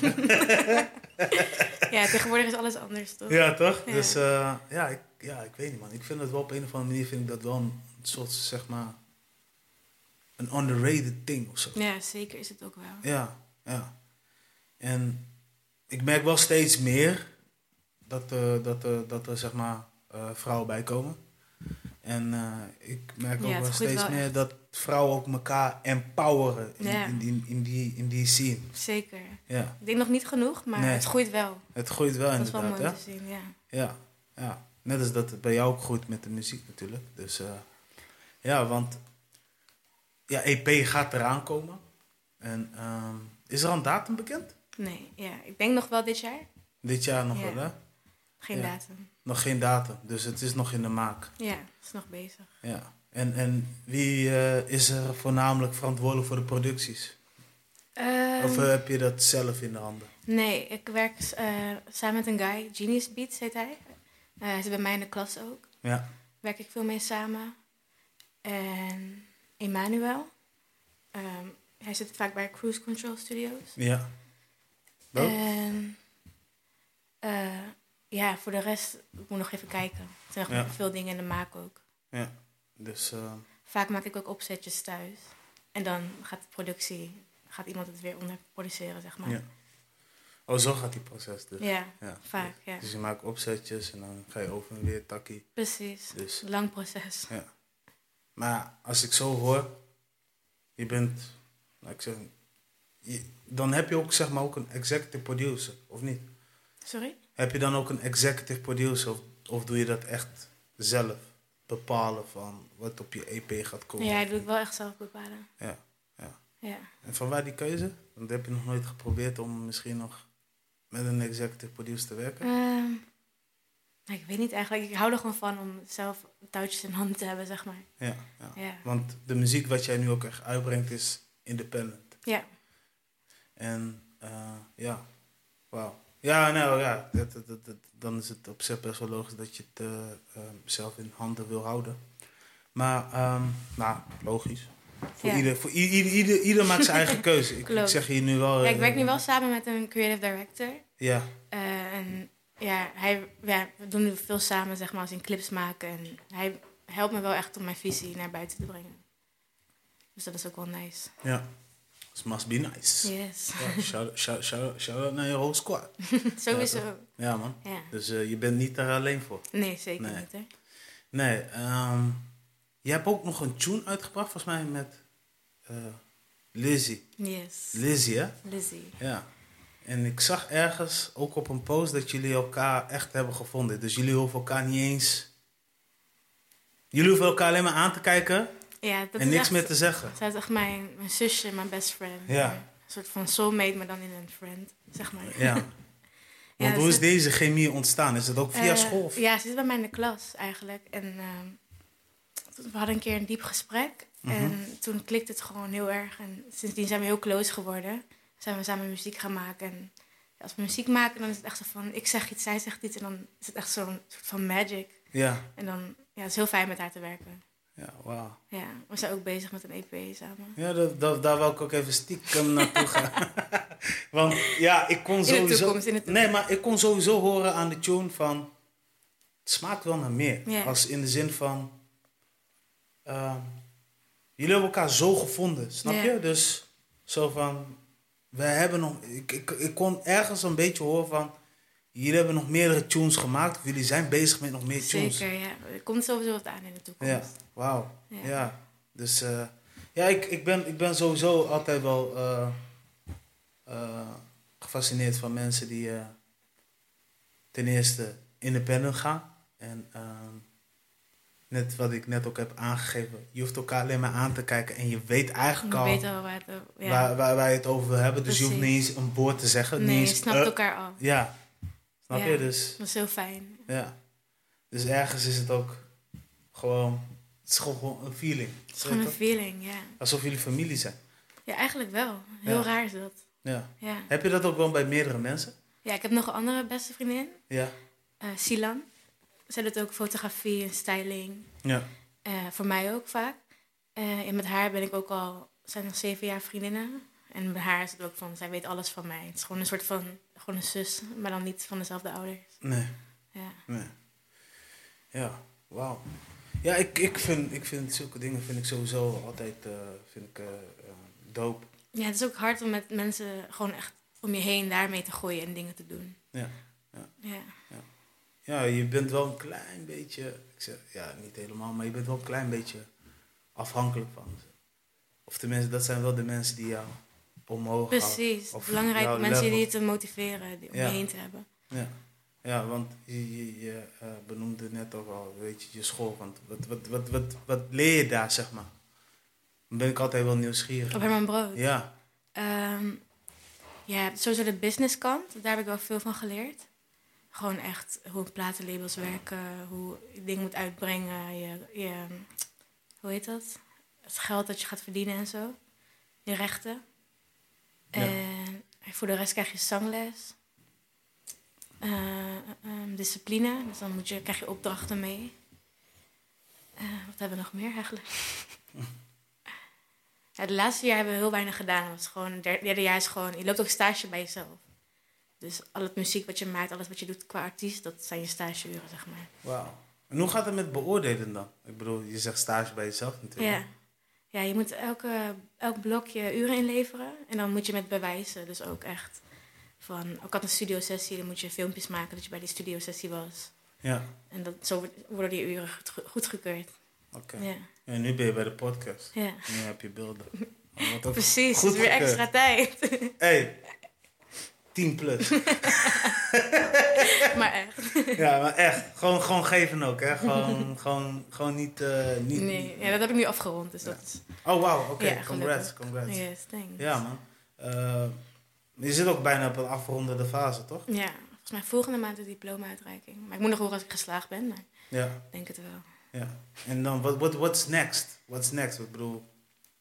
S2: Ja, tegenwoordig is alles anders, toch?
S1: ja, toch?
S2: Ja.
S1: Dus eh, ja, ik, ja, ik weet niet, man. Ik vind het wel op een of andere manier vind ik dat wel een soort, zeg maar, een underrated ding of zo.
S2: Ja, zeker is het ook wel.
S1: Ja, ja. En ik merk wel steeds meer dat, eh, dat, eh, dat er zeg maar, eh, vrouwen bij komen. En eh, ik merk
S2: Ja,
S1: ook
S2: het
S1: wel
S2: groeit
S1: steeds
S2: wel
S1: meer dat vrouwen ook elkaar empoweren in,
S2: Ja.
S1: in, die, in, die, in die scene.
S2: Zeker.
S1: Ja,
S2: Ik denk nog niet genoeg, maar
S1: Nee.
S2: het groeit wel.
S1: het groeit wel
S2: Dat is wel
S1: inderdaad.
S2: mooi
S1: hè?
S2: om te zien, ja.
S1: Ja, ja. Net als dat het bij jou ook groeit met de muziek natuurlijk. Dus eh, ja, want ja, EP gaat eraan komen. En ehm, is er al een datum bekend?
S2: Nee, ja. Ik denk nog wel dit jaar.
S1: Dit jaar nog
S2: Ja.
S1: wel, hè?
S2: Geen
S1: Ja.
S2: datum.
S1: Nog geen datum, dus het is nog in de maak.
S2: Ja, het is nog bezig.
S1: Ja. En, en wie eh, is er voornamelijk verantwoordelijk voor de producties?
S2: Ehm,
S1: of eh, heb je dat zelf in de handen?
S2: Nee, ik werk eh, samen met een guy. Genius Beats heet hij. Eh, hij zit bij mij in de klas ook.
S1: Ja.
S2: Werk ik veel mee samen. En Emmanuel. Ehm, hij zit vaak bij Cruise Control Studios.
S1: Ja. Wel?
S2: En Ehm, eh, ja, voor de rest ik moet nog even kijken. Er zijn nog
S1: Ja.
S2: veel dingen in de maak ook.
S1: ja. Dus eh,
S2: Vaak maak ik ook opzetjes thuis. En dan gaat de productie, gaat iemand het weer onder produceren, zeg maar.
S1: ja. Oh, zo gaat die proces dus.
S2: Ja,
S1: Ja.
S2: vaak, ja.
S1: Dus je maakt opzetjes en dan ga je over en weer takkie.
S2: Precies.
S1: Dus.
S2: Lang proces.
S1: Ja. Maar als ik zo hoor, je bent, laat ik zeggen, je- dan heb je ook zeg maar ook een executive producer, of niet?
S2: Sorry?
S1: Heb je dan ook een executive producer of, of doe je dat echt zelf bepalen van wat op je EP gaat komen?
S2: Ja, dat doe ik wel echt zelf bepalen.
S1: ja, ja.
S2: Ja.
S1: En van waar die keuze? Want heb je nog nooit geprobeerd om misschien nog met een executive producer te werken?
S2: Ehm, nou, ik weet niet eigenlijk. Ik hou er gewoon van om zelf touwtjes in handen te hebben, zeg maar.
S1: Ja, ja.
S2: Ja.
S1: Want de muziek wat jij nu ook echt uitbrengt is independent.
S2: Ja.
S1: En eh, ja, wauw. Ja, nou ja, dat, dat, dat- dat- dan is het op zich best wel logisch dat je het eh, ehm, zelf in handen wil houden. Maar, ehm, nou, logisch. Voor
S2: Ja.
S1: ieder, voor i- ieder, ieder, ieder maakt zijn eigen keuze. Ik, ik
S2: Klopt.
S1: zeg hier nu wel...
S2: ja,
S1: eh,
S2: ik werk nu wel samen met een creative director.
S1: Ja,
S2: Eh, en ja, hij, ja, we doen nu veel samen, zeg maar, als in clips maken. En hij helpt me wel echt om mijn visie naar buiten te brengen. Dus dat is ook wel nice.
S1: ja. Dus must be nice.
S2: Yes.
S1: Ja, shout, shout, shout, shout out naar je whole squad.
S2: *laughs* Sowieso.
S1: Ja, man.
S2: Ja.
S1: Dus eh, je bent niet daar alleen voor.
S2: Nee, zeker
S1: Nee.
S2: niet, hè.
S1: Nee, ehm je hebt ook nog een tune uitgebracht, volgens mij met eh Lizzie.
S2: Yes.
S1: Lizzie, hè?
S2: Lizzie.
S1: Ja. En ik zag ergens ook op een post dat jullie elkaar echt hebben gevonden. Dus jullie hoeven elkaar niet eens. Jullie hoeven elkaar alleen maar aan te kijken
S2: Ja, dat
S1: en
S2: is
S1: niks
S2: echt-
S1: meer te zeggen.
S2: Zij is echt mijn, mijn zusje, mijn best friend.
S1: Ja.
S2: Een soort van soulmate, maar dan in een friend, zeg maar. *laughs*
S1: Ja. Want
S2: dus
S1: hoe is
S2: het-
S1: deze chemie ontstaan? Is dat ook via
S2: Eh,
S1: school? of-
S2: Ja, ze zit bij mij in de klas eigenlijk. En ehm, we hadden een keer een diep gesprek.
S1: Mhm.
S2: En toen klikte het gewoon heel erg. En sindsdien zijn we heel close geworden. Zijn we samen muziek gaan maken. En als we muziek maken, dan is het echt zo van... Ik zeg iets, zij zegt iets. En dan is het echt zo'n soort van magic.
S1: Ja,
S2: En dan... Ja, het is heel fijn met haar te werken.
S1: Ja, wauw.
S2: Ja, we zijn ook bezig met een EP samen.
S1: Ja, dat, dat, daar wou ik ook even stiekem naartoe
S2: *laughs*
S1: gaan. Want ja, ik kon
S2: de
S1: sowieso...
S2: toekomst, in de toekomst.
S1: Nee, maar ik kon sowieso horen aan de tune van... Het smaakt wel naar meer.
S2: Ja.
S1: Als in de zin van... ehm, jullie hebben elkaar zo gevonden, snap
S2: Ja.
S1: je? Dus zo van... We hebben nog... Ik, ik, ik kon ergens een beetje horen van... Jullie hebben nog meerdere tunes gemaakt. Of jullie zijn bezig met nog meer tunes.
S2: Zeker, ja. Er komt sowieso wat aan in
S1: Ja,
S2: de toekomst.
S1: wauw. Ja.
S2: Ja.
S1: Dus eh, ja, ik, ik, ben, ik ben sowieso altijd wel eh, eh, gefascineerd van mensen die eh, ten eerste independent gaan. En ehm, net wat ik net ook heb aangegeven, je hoeft elkaar alleen maar aan te kijken en je weet eigenlijk
S2: Je
S1: al
S2: weet al waar het... Ja.
S1: waar, waar, waar je het over wil hebben. Dus je hoeft
S2: Precies.
S1: niet eens een woord te zeggen.
S2: nee,
S1: niet
S2: je
S1: eens,
S2: snapt
S1: eh,
S2: elkaar al.
S1: Ja, snap
S2: Ja.
S1: je? Dus
S2: Dat is heel fijn.
S1: ja. Dus ergens is het ook gewoon. Het is gewoon- gewoon een feeling.
S2: Het is gewoon een
S1: Weet je?
S2: feeling, ja.
S1: Alsof jullie familie zijn.
S2: Ja, eigenlijk wel. Heel
S1: Ja.
S2: raar is dat.
S1: Ja.
S2: Ja.
S1: Heb je dat ook wel bij meerdere mensen?
S2: ja, ik heb nog een andere beste vriendin,
S1: Ja.
S2: eh, Silan. Zij doet ook fotografie en styling.
S1: Ja.
S2: Eh, voor mij ook vaak. Eh, en met haar ben ik ook al, zijn nog zeven jaar vriendinnen. En bij haar is het ook van, zij weet alles van mij. Het is gewoon een soort van, gewoon een zus, maar dan niet van dezelfde ouders.
S1: Nee.
S2: Ja,
S1: Nee. Ja. Wauw. Ja, ik, ik, vind, ik vind zulke dingen vind ik sowieso altijd eh, vind ik, eh eh, dope.
S2: ja het is ook hard om met mensen gewoon echt om je heen daarmee te gooien en dingen te doen.
S1: Ja.
S2: Ja,
S1: Ja, je bent wel een klein beetje, ik zeg, ja, niet helemaal, maar je bent wel een klein beetje afhankelijk van ze. Of tenminste, dat zijn wel de mensen die jou omhoog houden.
S2: precies.
S1: Of
S2: Belangrijk
S1: jouw
S2: mensen
S1: level.
S2: die je te motiveren, die om
S1: Ja.
S2: je heen te hebben.
S1: Ja, ja want je, je, je eh, benoemde net ook al, weet je, je school. Want wat, wat, wat, wat, wat leer je daar, zeg maar? Dan ben ik altijd wel nieuwsgierig.
S2: Op Herman Brood.
S1: Ja,
S2: Ehm, ja, sowieso de businesskant. Daar heb ik wel veel van geleerd. Gewoon echt hoe platenlabels werken, hoe je dingen moet uitbrengen. Je, je, hoe heet dat? Het geld dat je gaat verdienen en zo. Je rechten.
S1: Ja.
S2: En voor de rest krijg je zangles. Eh, ehm, discipline, dus dan moet je, krijg je opdrachten mee. Eh, wat hebben we nog meer eigenlijk? Ja, het laatste jaar hebben we heel weinig gedaan. Het was gewoon, het der- derde jaar is gewoon, je loopt ook stage bij jezelf. Dus al het muziek wat je maakt, alles wat je doet qua artiest, dat zijn je stageuren, zeg maar.
S1: wauw. En hoe gaat het met beoordelen dan? Ik bedoel, je zegt stage bij jezelf natuurlijk.
S2: Ja. ja, je moet elke, elk blokje uren inleveren. En dan moet je met bewijzen, dus ook echt. Van, ook had een studiosessie, dan moet je filmpjes maken dat je bij die studiosessie was.
S1: Ja,
S2: En dat, zo wordt- worden die uren goed- goedgekeurd.
S1: oké.
S2: Ja,
S1: En nu ben je bij de podcast.
S2: ja.
S1: Nu heb je
S2: *laughs*
S1: beelden. Oh, wat ook
S2: precies.
S1: goed
S2: dus weer
S1: gekeurd.
S2: extra tijd.
S1: *laughs* Hey, 10
S2: *laughs*
S1: plus.
S2: maar echt.
S1: ja, maar echt. Gewoon, gewoon geven ook, hè.
S2: *laughs*
S1: Gewoon, gewoon, gewoon niet... eh, niet
S2: Nee, ja, dat heb ik nu afgerond, dus
S1: Ja.
S2: dat is...
S1: Oh, wauw. Oké,
S2: Ja,
S1: congrats,
S2: gelukkig.
S1: congrats.
S2: Yes, thanks.
S1: Ja, man. Eh, je zit ook bijna op een afrondende fase, toch?
S2: Ja, volgens mij volgende maand de diploma-uitreiking. Maar ik moet nog horen als ik geslaagd ben, maar
S1: Ja.
S2: ik denk het wel.
S1: ja. En dan, wat what, what's next? What's next? Ik bedoel,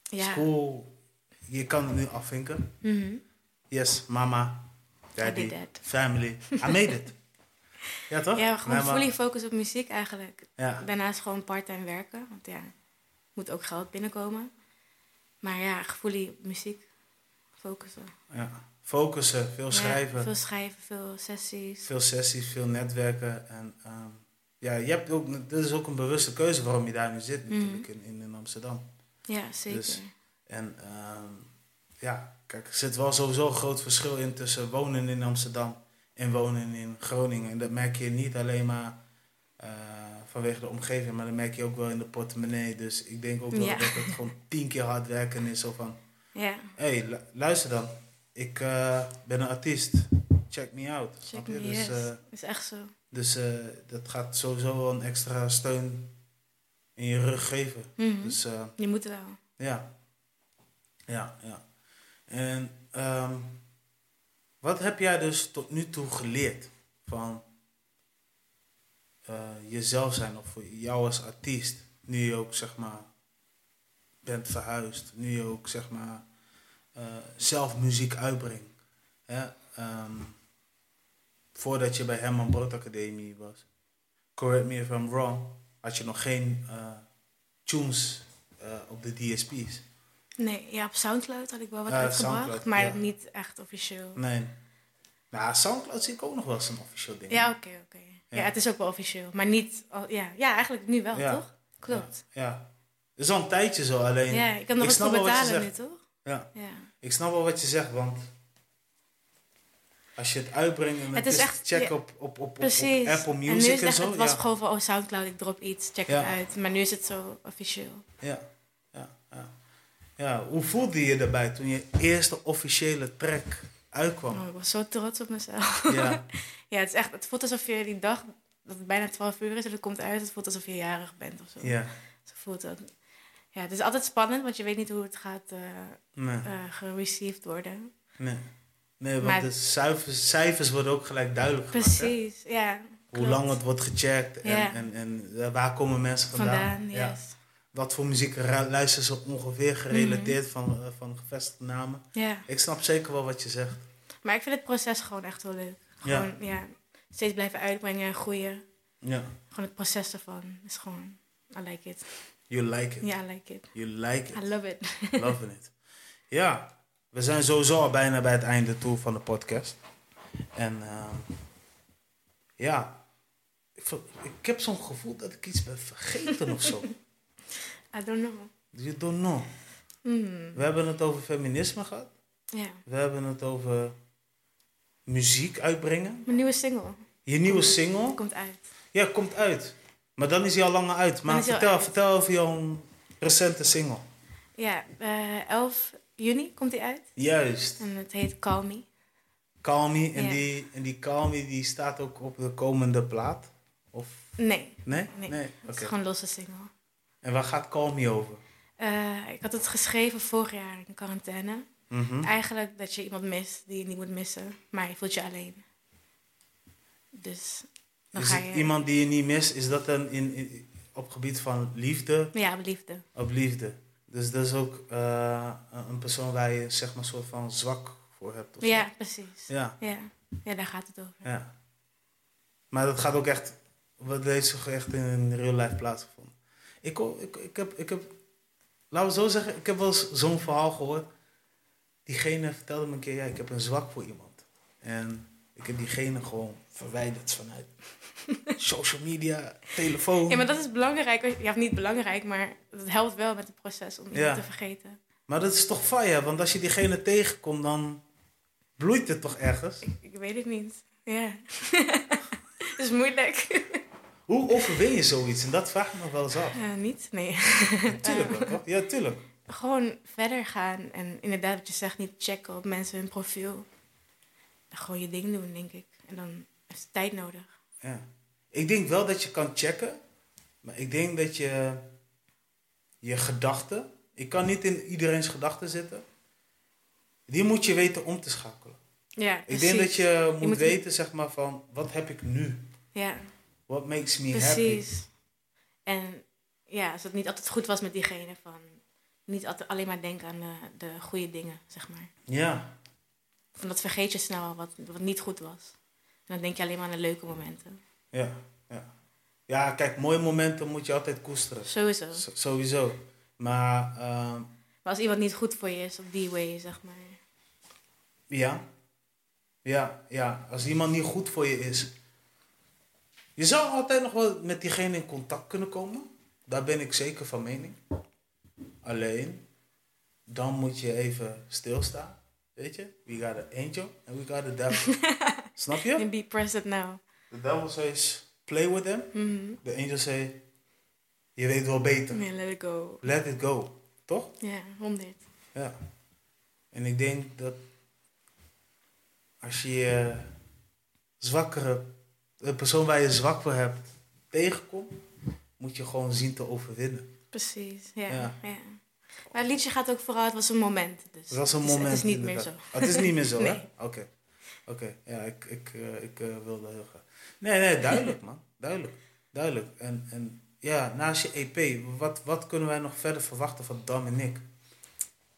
S2: Ja.
S1: school, je kan het nu afvinken.
S2: Mhm.
S1: Yes, mama,
S2: I
S1: daddy,
S2: did that.
S1: family. I made
S2: *laughs*
S1: it. Ja, toch?
S2: Ja, gewoon
S1: Nee, Oh, maar-
S2: fully focus op muziek eigenlijk.
S1: Ja,
S2: Daarnaast gewoon part-time werken, want ja, moet ook geld binnenkomen. Maar ja, fully op muziek focussen.
S1: ja. Focussen, veel schrijven,
S2: Ja,
S1: veel...
S2: veel schrijven, veel sessies.
S1: sessies, veel netwerken. En ehm, ja, je hebt ook, dit is ook een bewuste keuze waarom je daar nu zit,
S2: Mhm.
S1: natuurlijk, in, in Amsterdam.
S2: Ja, zeker.
S1: Dus- En ehm, ja, kijk, er zit wel sowieso een groot verschil in tussen wonen in Amsterdam en wonen in Groningen. En dat merk je niet alleen maar eh, vanwege de omgeving, maar dat merk je ook wel in de portemonnee. Dus ik denk ook wel
S2: Ja.
S1: dat het gewoon tien keer hard werken is. Zo van,
S2: ja,
S1: hé, hey, lu- luister dan, ik eh, ben een artiest, check me out.
S2: check
S1: Snap je?
S2: me,
S1: Dus,
S2: yes.
S1: eh,
S2: is echt zo.
S1: dus eh, dat gaat sowieso wel een extra steun in je rug geven.
S2: Mhm.
S1: Dus... eh,
S2: Je moet wel.
S1: ja. Ja, ja. En ehm, wat heb jij dus tot nu toe geleerd van eh, jezelf zijn of voor jou als artiest? Nu je ook zeg maar bent verhuisd, nu je ook zeg maar eh, zelf muziek uitbrengt. Hè? Ehm, voordat je bij Herman Brood Academie was, correct me if I'm wrong, had je nog geen eh, tunes eh, op de DSP's.
S2: Nee, ja, op Soundcloud had ik wel wat
S1: Ja,
S2: uitgebracht,
S1: Ah, Soundcloud,
S2: maar
S1: ja.
S2: niet echt officieel.
S1: Nee. Nou, Soundcloud zie ik ook nog wel eens een officieel ding.
S2: Ja, oké, oké. Ja.
S1: Ja.
S2: het is ook wel officieel, maar niet... al- ja, ja, eigenlijk nu wel,
S1: Ja.
S2: toch? Klopt.
S1: Ja. Het is al een tijdje zo,
S2: Ja,
S1: alleen...
S2: ik kan nog
S1: ik
S2: eens
S1: snap
S2: voor
S1: wel wat je
S2: betalen nu,
S1: zegt.
S2: toch?
S1: Ja.
S2: Ja.
S1: Ik snap wel wat je zegt, want... Als je het uitbrengt en het,
S2: Het is
S1: is,
S2: echt-
S1: check
S2: ja,
S1: op, op, op, op,
S2: Precies.
S1: op Apple
S2: en nu
S1: Music
S2: is het
S1: en
S2: echt,
S1: zo.
S2: het was
S1: ja.
S2: gewoon van, oh, Soundcloud, ik drop iets, check
S1: Ja.
S2: het uit. Maar nu is het zo officieel.
S1: Ja, ja, ja. ja. Hoe voelde je je daarbij toen je eerste officiële track uitkwam?
S2: Oh, ik was zo trots op mezelf.
S1: Ja,
S2: *laughs* Ja, het, is echt, het voelt alsof je die dag, dat het bijna 12 uur is en het komt uit, het voelt alsof je jarig bent of zo.
S1: ja.
S2: Zo voelt dat. Ja, het is altijd spannend, want je weet niet hoe het gaat eh
S1: Nee,
S2: eh, gereceived worden.
S1: nee. Nee, want
S2: Maar-
S1: de cijfers, cijfers worden ook gelijk duidelijk gemaakt. hè?
S2: Precies, ja.
S1: Hoe
S2: klopt.
S1: lang het wordt gecheckt en,
S2: Ja.
S1: en, en eh, waar komen mensen vandaan.
S2: vandaan
S1: Ja.
S2: yes.
S1: Wat voor muziek ru- luisteren ze ongeveer gerelateerd van, eh, van gevestigde namen.
S2: ja.
S1: Ik snap zeker wel wat je zegt.
S2: Maar ik vind het proces gewoon echt heel leuk.
S1: Ja.
S2: Gewoon, ja. steeds blijven uitbrengen en groeien.
S1: Ja.
S2: Gewoon het proces ervan is gewoon, I like it.
S1: You like it.
S2: Ja, I like it.
S1: You like
S2: *laughs*
S1: it.
S2: I love it.
S1: Loving it. Ja, we zijn sowieso al bijna bij het einde toe van de podcast. En ehm, ja, ik, vo- ik heb zo'n gevoel dat ik iets ben vergeten of
S2: *laughs*
S1: zo.
S2: I don't know.
S1: You don't know.
S2: Hmm.
S1: We hebben het over feminisme gehad.
S2: Ja.
S1: We hebben het over muziek uitbrengen.
S2: Mijn nieuwe single
S1: Je nieuwe single.
S2: komt uit.
S1: Ja, komt uit. Maar dan is hij al langer uit.
S2: Dan
S1: Maar
S2: is hij al
S1: vertel,
S2: uit.
S1: vertel over jouw recente single.
S2: Ja, eh, 11 juni komt die uit.
S1: Juist.
S2: En het heet Call Me.
S1: Calmie. En,
S2: Ja.
S1: die, en die Calmie die staat ook op de komende plaat. Of
S2: Nee,
S1: nee?
S2: Nee, het
S1: Oké.
S2: is gewoon een losse single.
S1: En waar gaat Calmie over?
S2: Eh, ik had het geschreven vorig jaar in quarantaine.
S1: Mhm.
S2: Eigenlijk dat je iemand mist die je niet moet missen, maar je voelt je alleen. Dus dan
S1: Is
S2: ga
S1: het
S2: je.
S1: iemand die je niet mist? Is dat dan in, in- op gebied van liefde?
S2: Ja, liefde.
S1: Op liefde. Dus dat is ook eh, een een persoon waar je zeg maar een soort van zwak voor hebt. of zo.
S2: Ja, precies. Ja.
S1: ja.
S2: Ja. daar gaat het over.
S1: Ja. Maar dat gaat ook echt... Wat heeft zich echt in real life plaatsgevonden? Ik, ho- ik, ik heb... Ik heb laten we zo zeggen. Ik heb wel eens zo'n verhaal gehoord. Diegene vertelde me een keer... Ja, ik heb een zwak voor iemand. En ik heb diegene gewoon verwijderd
S2: *laughs*
S1: vanuit... social media, telefoon.
S2: Ja, maar
S1: maar,
S2: dat is belangrijk. als- Ja, of niet belangrijk, maar het helpt wel met het proces om iemand
S1: Ja.
S2: te vergeten.
S1: dat is toch fijn, hè? Want als je diegene tegenkomt, dan... Bloeit het toch ergens?
S2: Ik, ik weet het niet. Ja. *laughs* Het is moeilijk.
S1: Hoe overwin je zoiets? En dat vraag ik me wel eens
S2: *laughs*
S1: af.
S2: Eh, niet? Nee.
S1: Tuurlijk wel, toch? Ja, tuurlijk.
S2: gewoon verder gaan en inderdaad wat je zegt, niet checken op mensen hun profiel. En gewoon je ding doen, denk ik. En dan heeft het tijd nodig.
S1: Ja. Ik denk wel dat je kan checken, maar ik denk dat je je gedachten, ik kan niet in iedereen's gedachten zitten, die moet je weten om te schakelen.
S2: Ja,
S1: Ik denk dat je moet,
S2: moet-
S1: weten, zeg maar, van wat heb ik nu?
S2: Ja,
S1: What makes me happy?
S2: precies. En ja, als het niet altijd goed was met diegene, van niet altijd alleen maar denken aan de, de goede dingen, zeg maar.
S1: Ja,
S2: Van dat vergeet je snel al wat, wat niet goed was. En dan denk je alleen maar aan de leuke momenten.
S1: ja, ja. Ja, kijk, mooie momenten moet je altijd koesteren.
S2: Sowieso.
S1: S- sowieso. Maar ehm,
S2: Maar als iemand niet goed voor je is, op die way, zeg maar.
S1: Ja. Ja, ja. Als iemand niet goed voor je is. Je zou altijd nog wel met diegene in contact kunnen komen. Daar ben ik zeker van mening. Alleen, dan moet je even stilstaan. Weet je? We got an angel and we got a devil. Snap je?
S2: And be present now.
S1: The devil says, play with them. The angel says, je weet wel beter.
S2: Nee, let it go.
S1: Let it go. Toch?
S2: Ja, 100.
S1: Ja. En ik denk dat als je je eh, zwakkere, de persoon waar je zwak voor hebt, tegenkomt, moet je gewoon zien te overwinnen.
S2: Precies, ja,
S1: Ja.
S2: ja. Maar het liedje gaat ook vooral, het was een moment. Dus
S1: Dat was een
S2: het is-
S1: moment.
S2: Het is niet
S1: inderdaad.
S2: meer zo.
S1: Oh, het is niet meer
S2: *laughs*
S1: zo, hè?
S2: Nee.
S1: Oké. Oké, ja, ik, ik, eh, ik eh, wilde heel graag. Nee, nee, duidelijk,
S2: *laughs*
S1: man. Duidelijk. Duidelijk. En, en ja, naast je EP, wat, wat kunnen wij nog verder verwachten van Dominic?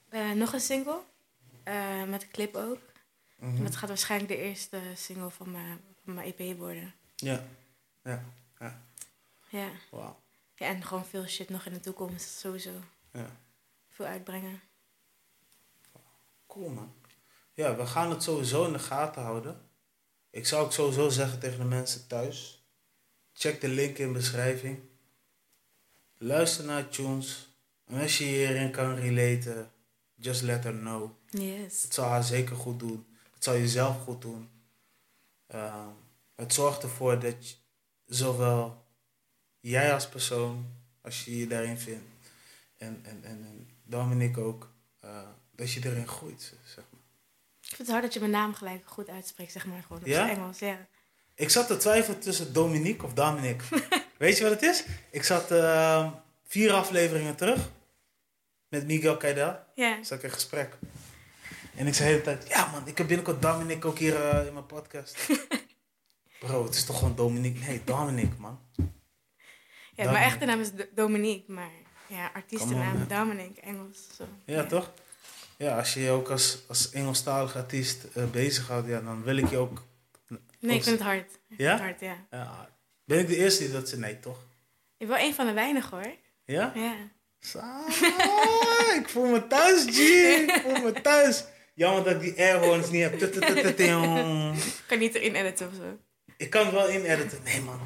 S2: Eh, nog een single, eh, met een clip ook.
S1: Mhm.
S2: Dat gaat waarschijnlijk de eerste single E van mijn, van mijn EP worden.
S1: Ja. Ja. ja.
S2: Ja.
S1: Wauw.
S2: Ja, en gewoon veel shit nog in de toekomst, sowieso.
S1: Ja.
S2: Veel uitbrengen.
S1: Cool man. Ja, we gaan het sowieso in de gaten houden. Ik zou ook sowieso zeggen tegen de mensen thuis. Check de link in de beschrijving. Luister naar tunes. En als je hierin kan relaten, just let her know.
S2: Yes.
S1: Het zal haar zeker goed doen. Het zal jezelf goed doen. Ehm, het zorgt ervoor dat je- zowel jij als persoon, als je je daarin vindt, en, en, en, en Dominic ook, eh, dat je erin groeit, zeg maar.
S2: Ik vind het hard dat je mijn naam gelijk goed uitspreekt, zeg maar, gewoon op
S1: Ja?
S2: het Engels. Ja.
S1: Ik zat te twijfelen tussen Dominique of Dominic. Weet je wat het is? Ik zat ehm, vier afleveringen terug met Miguel Keidel.
S2: Ja.
S1: zat ik in gesprek. En ik zei de hele tijd, ja man, ik heb binnenkort Dominic ook hier eh, in mijn podcast. Bro, het is toch gewoon Dominic? Nee, Dominic man.
S2: ja, mijn echte naam is Do- Dominique, maar ja, artiestennaam
S1: Come on,
S2: Dominic, Engels. Zo.
S1: Ja, toch? Ja, als je je ook als, als Engelstalig artiest eh, bezighoudt, ja, dan wil ik je ook...
S2: Nee, ik vind het hard. Ik vind
S1: Ja?
S2: het hard, ja.
S1: Ja, ben ik de eerste die dat zei? Nee, toch?
S2: Ik ben wel een van de weinigen, hoor.
S1: Ja?
S2: Ja.
S1: Saai, ik voel me thuis, G. Ik voel me thuis. Jammer dat ik die airhorns niet heb. Tututututum.
S2: Ik kan niet erin editen of zo.
S1: Ik kan het wel inediten. Nee, man.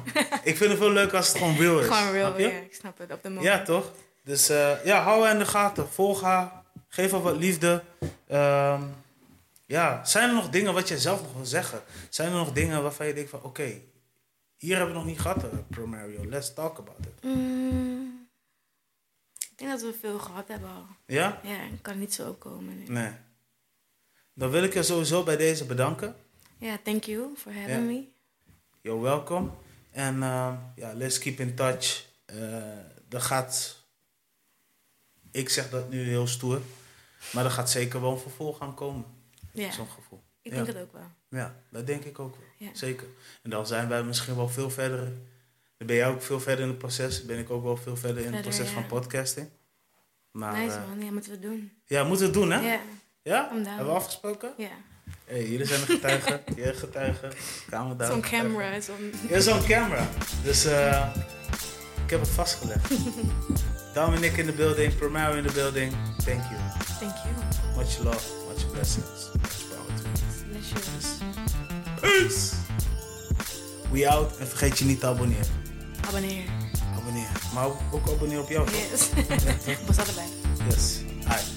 S1: Ik vind het veel leuker als het gewoon real is.
S2: Gewoon
S1: snap
S2: real,
S1: je?
S2: ja. Ik snap het, op de moment.
S1: Ja, toch? Dus eh, ja, hou haar in de gaten. Volg haar. Geef haar wat liefde. Ehm, ja, zijn er nog dingen wat jij zelf nog wil zeggen? Zijn er nog dingen waarvan je denkt van... Oké, hier hebben we nog niet gehad, eh, Promario. Let's talk about it.
S2: Mm, ik denk dat we veel gehad hebben al.
S1: Ja?
S2: Ja, ik kan niet zo opkomen. nu.
S1: Nee. Dan wil ik je sowieso bij deze bedanken.
S2: Ja, thank you for having
S1: Ja.
S2: me.
S1: You're welcome. En ehm, ja, let's keep in touch. Eh er gaat... Ik zeg dat nu heel stoer. Maar er gaat zeker wel een vervolg aan komen.
S2: Ja,
S1: Zo'n gevoel.
S2: ik
S1: ja.
S2: denk het ook wel.
S1: Ja, dat denk ik ook wel.
S2: Ja.
S1: Zeker. En dan zijn wij misschien wel veel verder. Dan ben jij ook veel verder in het proces. Ben ik ook wel veel verder in het
S2: Verder,
S1: proces
S2: ja.
S1: van podcasting. Maar
S2: nice
S1: eh,
S2: man, ja, moeten we doen.
S1: ja, moeten we het doen, hè?
S2: Ja, ja.
S1: Ja?
S2: I'm down.
S1: Hebben we afgesproken? hey, jullie zijn de
S2: *laughs*
S1: getuigen. Jij getuigen. Kamer daar.
S2: Zo'n
S1: getuigen.
S2: camera, zo'n...
S1: Ja, zo'n camera. Dus eh, ik heb het
S2: *laughs*
S1: vastgelegd. Dominic in de building, Promare in de building. Thank you.
S2: Thank you.
S1: Much love, much blessings, much power to you.
S2: Bless you.
S1: Peace. We out en vergeet je niet te abonneren.
S2: Abonneer.
S1: Abonneer. Maar ook abonneer op jou. toch?
S2: *laughs* Yes. Was dat erbij?
S1: Yes. Aight.